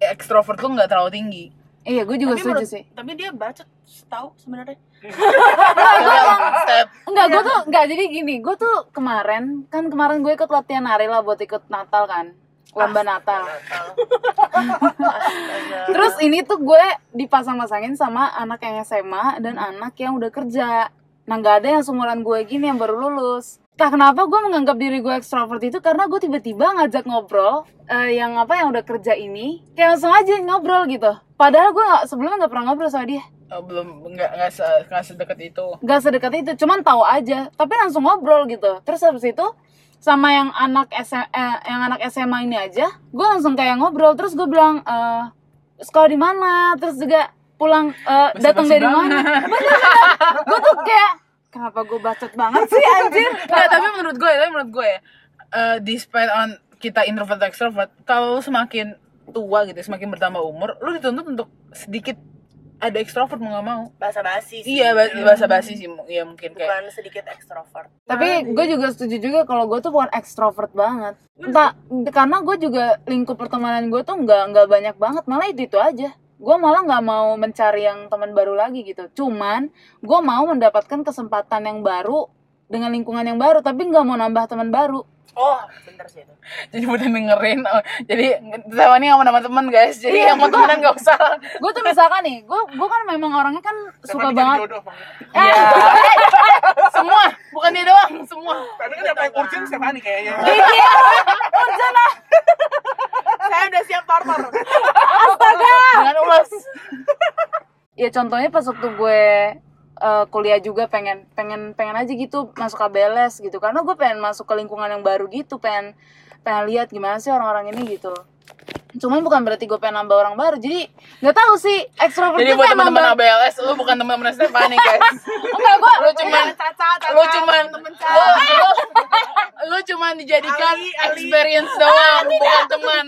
C: extrovert lo nggak terlalu
A: (laughs)
C: tinggi.
B: Iya, gue juga
D: Tapi
B: setuju
D: menurut-
B: sih.
D: Tapi dia bacot tahu sebenarnya.
C: step
B: Enggak, gue tuh enggak jadi gini. Gue tuh kemarin kan kemarin gue ikut latihan nari lah buat ikut Natal kan, lomba Natal. (laughs) Terus ini tuh gue dipasang-pasangin sama anak yang SMA dan anak yang udah kerja. Nah nggak ada yang seumuran gue gini yang baru lulus. Entah kenapa gue menganggap diri gue ekstrovert itu karena gue tiba-tiba ngajak ngobrol eh, yang apa yang udah kerja ini kayak langsung aja ngobrol gitu. Padahal gue nggak sebelumnya nggak pernah ngobrol sama dia.
C: Oh, belum nggak nggak se, nggak sedekat itu.
B: Gak sedekat itu, cuman tahu aja. Tapi langsung ngobrol gitu. Terus habis itu sama yang anak SMA, yang anak SMA ini aja, gue langsung kayak ngobrol. Terus gue bilang eh, sekolah di mana, terus juga pulang eh,
C: Basa-basi
B: datang dari
C: banget.
B: mana. Bener-bener, gue tuh kayak kenapa gue bacot banget sih anjir.
C: Nggak, (laughs) tapi menurut gue, tapi menurut gue ya, eh, despite on kita introvert atau extrovert, kalau lu semakin tua gitu, semakin bertambah umur, lu dituntut untuk sedikit ada extrovert mau nggak mau.
D: Bahasa basi sih.
C: Iya, bahasa basi sih, mu- ya mungkin kayak.
D: Bukan sedikit ekstrovert.
B: Tapi gue juga setuju juga kalau gue tuh bukan ekstrovert banget. Entah karena gue juga lingkup pertemanan gue tuh nggak nggak banyak banget, malah itu itu aja. Gue malah nggak mau mencari yang teman baru lagi gitu. Cuman gue mau mendapatkan kesempatan yang baru dengan lingkungan yang baru, tapi nggak mau nambah teman baru.
D: Oh, bener sih itu.
C: Jadi udah dengerin, oh, jadi sama nih sama nama teman guys, jadi yang mau temenan nggak usah.
B: Gue tuh misalkan nih, gue gue kan memang orangnya kan suka
A: Tapi jadi
B: banget.
A: jodoh, Bang.
B: Eh,
C: (laughs) Iya. Eh, semua, bukan dia doang, semua.
A: tapi kan yang paling urgent Stefani kayaknya
B: iya,
D: Saya udah siap tortor.
C: Dengan ulas.
B: ya contohnya pas waktu gue eh, kuliah juga pengen pengen pengen aja gitu masuk KBLS gitu karena gue pengen masuk ke lingkungan yang baru gitu pengen pengen lihat gimana sih orang-orang ini gitu cuman bukan berarti gue pengen nambah orang baru jadi nggak tahu sih ekstrovert
C: Jadi
B: tuh
C: buat
B: kayak
C: teman-teman
B: nambah-
C: ABLS, lu bukan teman-teman Stefani guys.
B: enggak gue
C: Lu Iya, cuman,
D: Caca, caca.
C: lu cuman,
D: temen
C: lu,
D: caca.
C: lu- lu cuman dijadikan
D: Ali, Ali.
C: experience doang, bukan teman.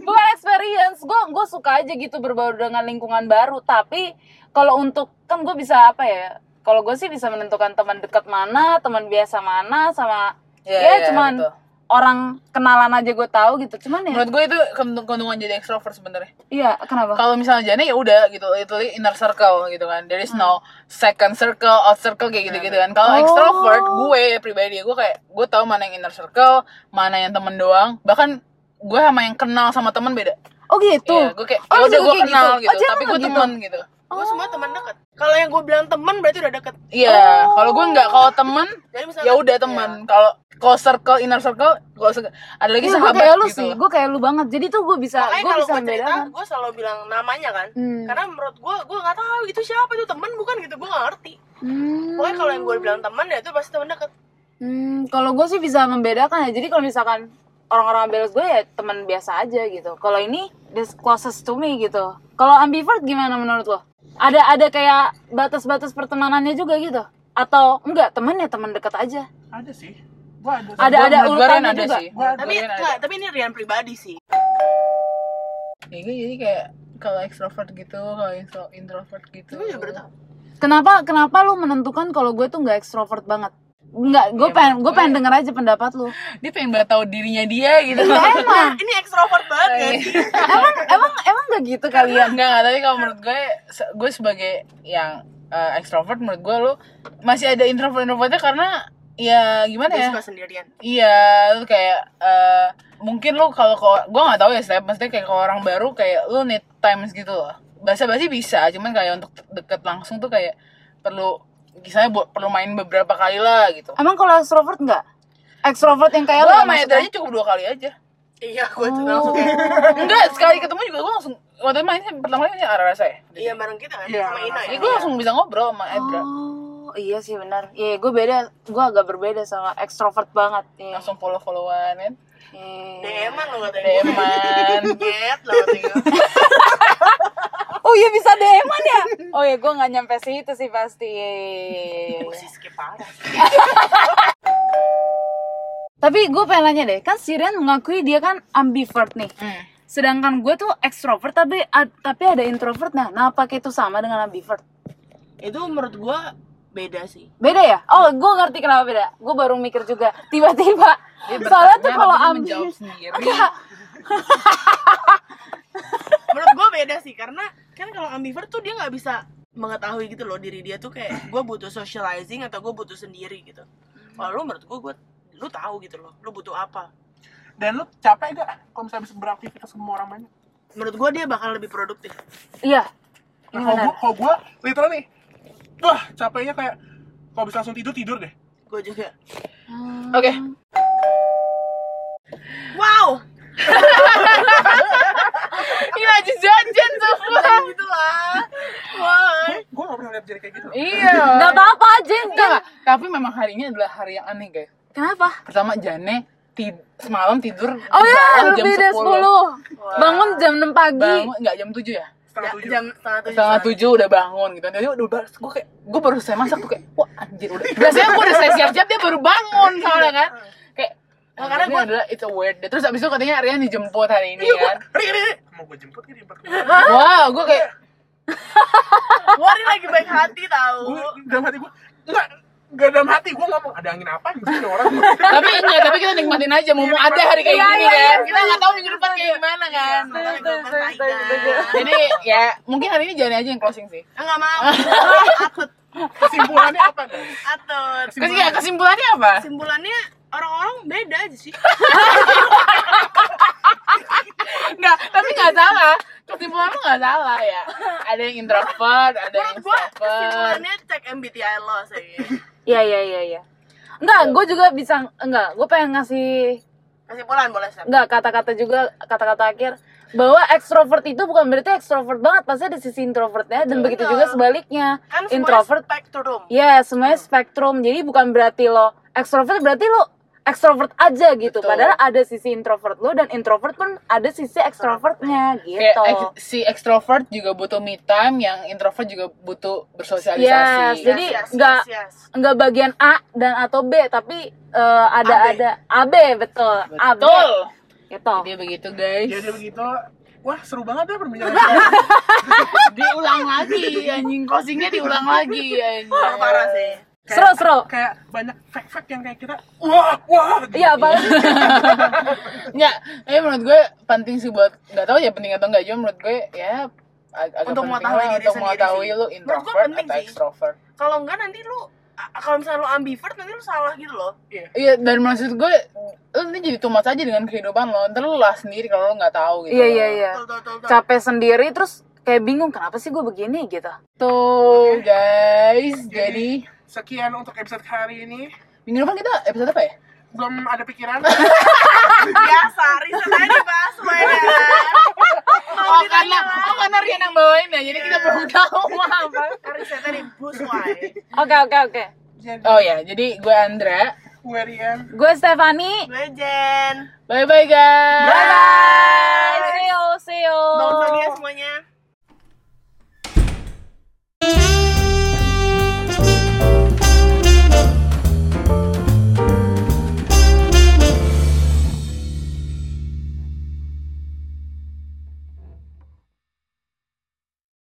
B: bukan experience gue gue suka aja gitu berbaur dengan lingkungan baru tapi kalau untuk kan gue bisa apa ya kalau gue sih bisa menentukan teman dekat mana teman biasa mana sama
C: Iya,
B: ya
C: iya,
B: cuman
C: betul.
B: orang kenalan aja gue tahu gitu cuman ya
C: Menurut gue itu keuntung- keuntungan jadi extrovert sebenarnya.
B: iya kenapa
C: kalau misalnya Jane ya udah gitu itu inner circle gitu kan there is no second circle out circle kayak gitu gitu kan kalau
B: Hmm. Oh.
C: extrovert gue pribadi gue kayak gue tahu mana yang inner circle mana yang temen doang bahkan gue sama yang kenal sama temen beda
B: oh gitu
C: Iya, gue kayak
B: Oh,
C: ya
B: lu
C: udah
B: juga
C: gue
B: kayak
C: kenal
B: gitu?
C: gitu,
B: Oh, Jane
C: tapi
B: emang
C: gue
B: gitu?
C: temen gitu
D: Gue semua teman dekat. Kalau yang gue bilang teman berarti udah deket.
C: iya
B: Oh.
C: kalau gue nggak kalau temen
D: Jadi misalnya
C: ya udah temen kalau kalau circle inner circle gue ada lagi
B: Iya, gue
C: sahabat
B: kayak lu
C: gitu
B: sih, gue kayak lu banget. Jadi tuh gue bisa,
D: Makanya
B: gue
D: kalau
B: bisa
D: gue cerita,
B: membedakan.
D: gue selalu bilang namanya kan.
B: Iya. Hmm.
D: Karena menurut gue, gue nggak tahu itu siapa itu temen bukan gitu, gue nggak ngerti.
B: Hmm,
D: Pokoknya kalau yang gue bilang teman ya itu pasti teman dekat.
B: hmm, kalau gue sih bisa membedakan ya. Jadi kalau misalkan orang-orang ambivalent gue ya teman biasa aja gitu. Kalau ini this closest to me gitu. Kalau ambivert gimana menurut lo? Ada ada kayak batas-batas pertemanannya juga gitu? Atau enggak teman ya teman dekat aja?
A: ada sih gue ada
B: Ada
C: Gua-
B: ada
C: menurut gue Ren
B: urutannya
C: ada
B: juga.
C: sih
A: Gua-
D: Tapi
C: Ren ada.
D: enggak, tapi ini Rian pribadi sih.
C: Ya, gue jadi kayak kalau extrovert gitu kalau intro- introvert gitu
D: Tapi udah bertahun.
B: Kenapa kenapa lu menentukan kalau gue tuh nggak ekstrovert banget? Enggak,
C: Iya,
B: gue pengen gue pengen denger aja pendapat lu.
C: dia pengen banget tahu dirinya dia gitu
B: Emang
D: Ini ekstrovert banget
C: Oh, iya.
D: kan?
B: emang emang emang gak gitu kali ya?
C: enggak enggak tapi kalau menurut gue se- gue sebagai yang eh, extrovert menurut gue lo masih ada introvert introvertnya karena ya gimana
D: Dia
C: ya
D: suka sendirian.
C: Iya, lu kayak eh, mungkin lu kalau ke- gua nggak tahu ya, Step, maksudnya kayak ke orang baru kayak lu need times gitu loh. Bahasa-bahasa bisa, cuman kayak untuk deket langsung tuh kayak perlu misalnya buat perlu main beberapa kali lah gitu.
B: Emang kalau extrovert enggak? Extrovert yang kayak lo
C: Gua sama
B: Ah, maksudnya?
C: Eda aja cukup dua kali aja.
D: Iya, gue tuh langsung.
C: Enggak, sekali ketemu juga gua langsung waktu itu mainnya pertama kali Ara rasa ya.
D: Iya, bareng kita kan
A: Iya.
D: sama Ina ya.
C: Jadi gua langsung bisa ngobrol sama Edra.
B: Oh, iya sih benar. Iya, gue beda, gue agak berbeda sama extrovert banget. Iya.
C: Langsung follow-followan kan.
B: Iya.
D: DM-an lo katanya.
C: DM-an.
D: Nyet lo katanya. (laughs)
B: Oh iya bisa DM-an ya? Oh iya, gue nggak nyampe situ sih pasti. Iya, iya, iya, iya.
D: Posisi skip parah.
B: Tapi gue pengen nanya deh, kan Sirian mengakui dia kan ambivert nih.
C: Hmm.
B: Sedangkan gue tuh extrovert tapi ad- tapi ada introvert. Nah, nah apa itu sama dengan ambivert?
D: Itu menurut gue beda sih.
B: Beda ya? Oh, gue ngerti kenapa beda. Gue baru mikir juga tiba-tiba. Soalnya tuh
C: Bertanya, tapi
B: kalau
C: dia
B: ambi
C: menjawab sendiri.
D: menurut gue beda sih karena kan kalau ambivert tuh dia nggak bisa mengetahui gitu loh diri dia tuh kayak gue butuh socializing atau gue butuh sendiri gitu kalau lu menurut gue gue lu tahu gitu loh lu butuh apa
A: Dan lu capek gak kalau misalnya bisa beraktivitas sama orang banyak?
D: menurut gue dia bakal lebih produktif
B: Iya.
A: Nah,
B: Ini
A: kalau
B: benar.
A: gua, kalau gua literal nih, wah capeknya kayak kalau bisa langsung tidur tidur deh.
D: gue juga
C: Oke.
A: (laughs)
D: wow
C: Iya, jajan semua.
D: gitu lah why
A: Gua gak pernah lihat jadi kayak gitu.
C: Iya.
B: Gak apa-apa aja,
C: Enggak, enggak. Tapi memang harinya adalah hari yang aneh, guys.
B: Kenapa?
C: Pertama, Jane tid semalam tidur di
B: Oh
C: bawah
B: iya, lebih dari 10. Bangun jam 6 pagi.
C: Bangun enggak jam 7 ya?
A: Setengah
D: Ja-
A: tujuh.
D: jam setengah
B: Iya.
D: tujuh
C: Setengah 7 udah bangun gitu. Jadi udah baru- gua kayak gua baru selesai masak tuh kayak wah anjir udah. Biasanya gua udah selesai siap-siap dia baru bangun
B: Iya.
C: soalnya kan.
D: Nah,
C: Kayak karena
D: karena
C: gue
D: gua-
C: adalah it's a weird day. Terus abis itu katanya Rian dijemput hari
B: Iya,
C: ini kan.
A: Ri, ri, ri. mau gua jemput nih di empat
C: Wow, gua kayak
D: gue lagi baik hati tahu
A: Gua dalam hati gua enggak enggak dalam hati gua ngomong ada angin apa anjing nih orang.
C: tapi enggak, tapi kita nikmatin aja mau ada hari kayak
B: Iya,
C: gini
B: iya,
C: kan.
B: iya,
C: Kita enggak tahu minggu depan kayak gimana kan.
D: Nggak tahu gua
B: Betul, betul,
D: persaingan.
B: betul.
C: Jadi ya mungkin hari ini Jane aja yang closing sih.
D: Ah, nggak mau atut
A: Kesimpulannya apa? Dong?
D: atut
C: Kes- ya, kesimpulannya apa?
D: kesimpulannya orang-orang beda aja sih
C: Enggak, tapi enggak salah. Kesimpulan lu enggak salah ya. Ada yang introvert, ada yang
D: menurut gue
C: extrovert.
D: kesimpulannya cek MBTI lo sih
B: Iya, iya, iya, iya. Enggak, gue juga bisa enggak, gue pengen ngasih
D: kesimpulan boleh sih
B: enggak kata-kata juga kata-kata akhir bahwa ekstrovert itu bukan berarti ekstrovert banget, pasti ada sisi introvertnya dan begitu juga sebaliknya.
D: kan semuanya
B: introvert
D: spektrum Iya,
B: ya semuanya spektrum. Jadi bukan berarti lo ekstrovert berarti lo ekstrovert aja gitu.
C: Betul.
B: Padahal ada sisi introvert lo dan introvert pun ada sisi ekstrovertnya
C: Kayak
B: gitu.
C: ex- si extrovert juga butuh me time, yang introvert juga butuh
B: Yes,
C: bersosialisasi. Iya.
B: jadi
D: iya,
B: enggak
D: yes, yes.
B: nggak bagian A dan atau B tapi eh, ada
D: AB.
B: ada AB betul AB
C: betul.
B: gitu
C: Jadi begitu guys.
A: Jadi Ya begitu. Wah seru banget ya perbincangan
B: (laughs)
A: kita.
C: diulang lagi anjing closingnya diulang lagi anjing.
D: Wah, parah sih
B: seru seru
A: Kayak banyak fact-fact yang kayak kita wah wah. gitu.
B: iya apalagi
C: Enggak, tapi menurut gue penting sih buat nggak tahu ya penting atau enggak juga menurut gue ya ag- agak
D: Untuk
C: penting
D: mengetahui
C: lah
D: diri
C: untuk
D: sendiri
C: mengetahui
D: sih.
C: lu
D: Menurut gue
C: introvert
D: penting
C: atau
D: sih.
C: extrovert.
D: kalau enggak nanti lu a- kalau misalnya lu ambivert nanti lu salah gitu loh
A: Iya.
C: Iya, dan maksud gue lu nanti jadi tumas aja dengan kehidupan lo. Ntar lu lah sendiri kalau lo nggak tahu gitu.
B: (laughs) iya iya iya
D: Betul, betul, betul, betul.
B: capek sendiri terus kayak bingung kenapa sih gue begini gitu
C: Tuh guys, jadi
A: sekian untuk episode hari ini.
C: minggu depan kita episode apa ya?
A: Belum ada
B: (laughs)
A: pikiran.
D: biasa riset aja dibahas gue ya
C: Oh karena oh karena Rian yang bawain ya, jadi kita belum tahu mau apa.
D: risetnya di bus why
B: oke oke oke
A: Jadi
C: Oh ya, jadi gue Andra.
A: gue Rian.
B: gue Stefani
D: gue Jen
C: Bye bye guys.
B: bye bye see you see you Oh.
D: bangun pagi ya semuanya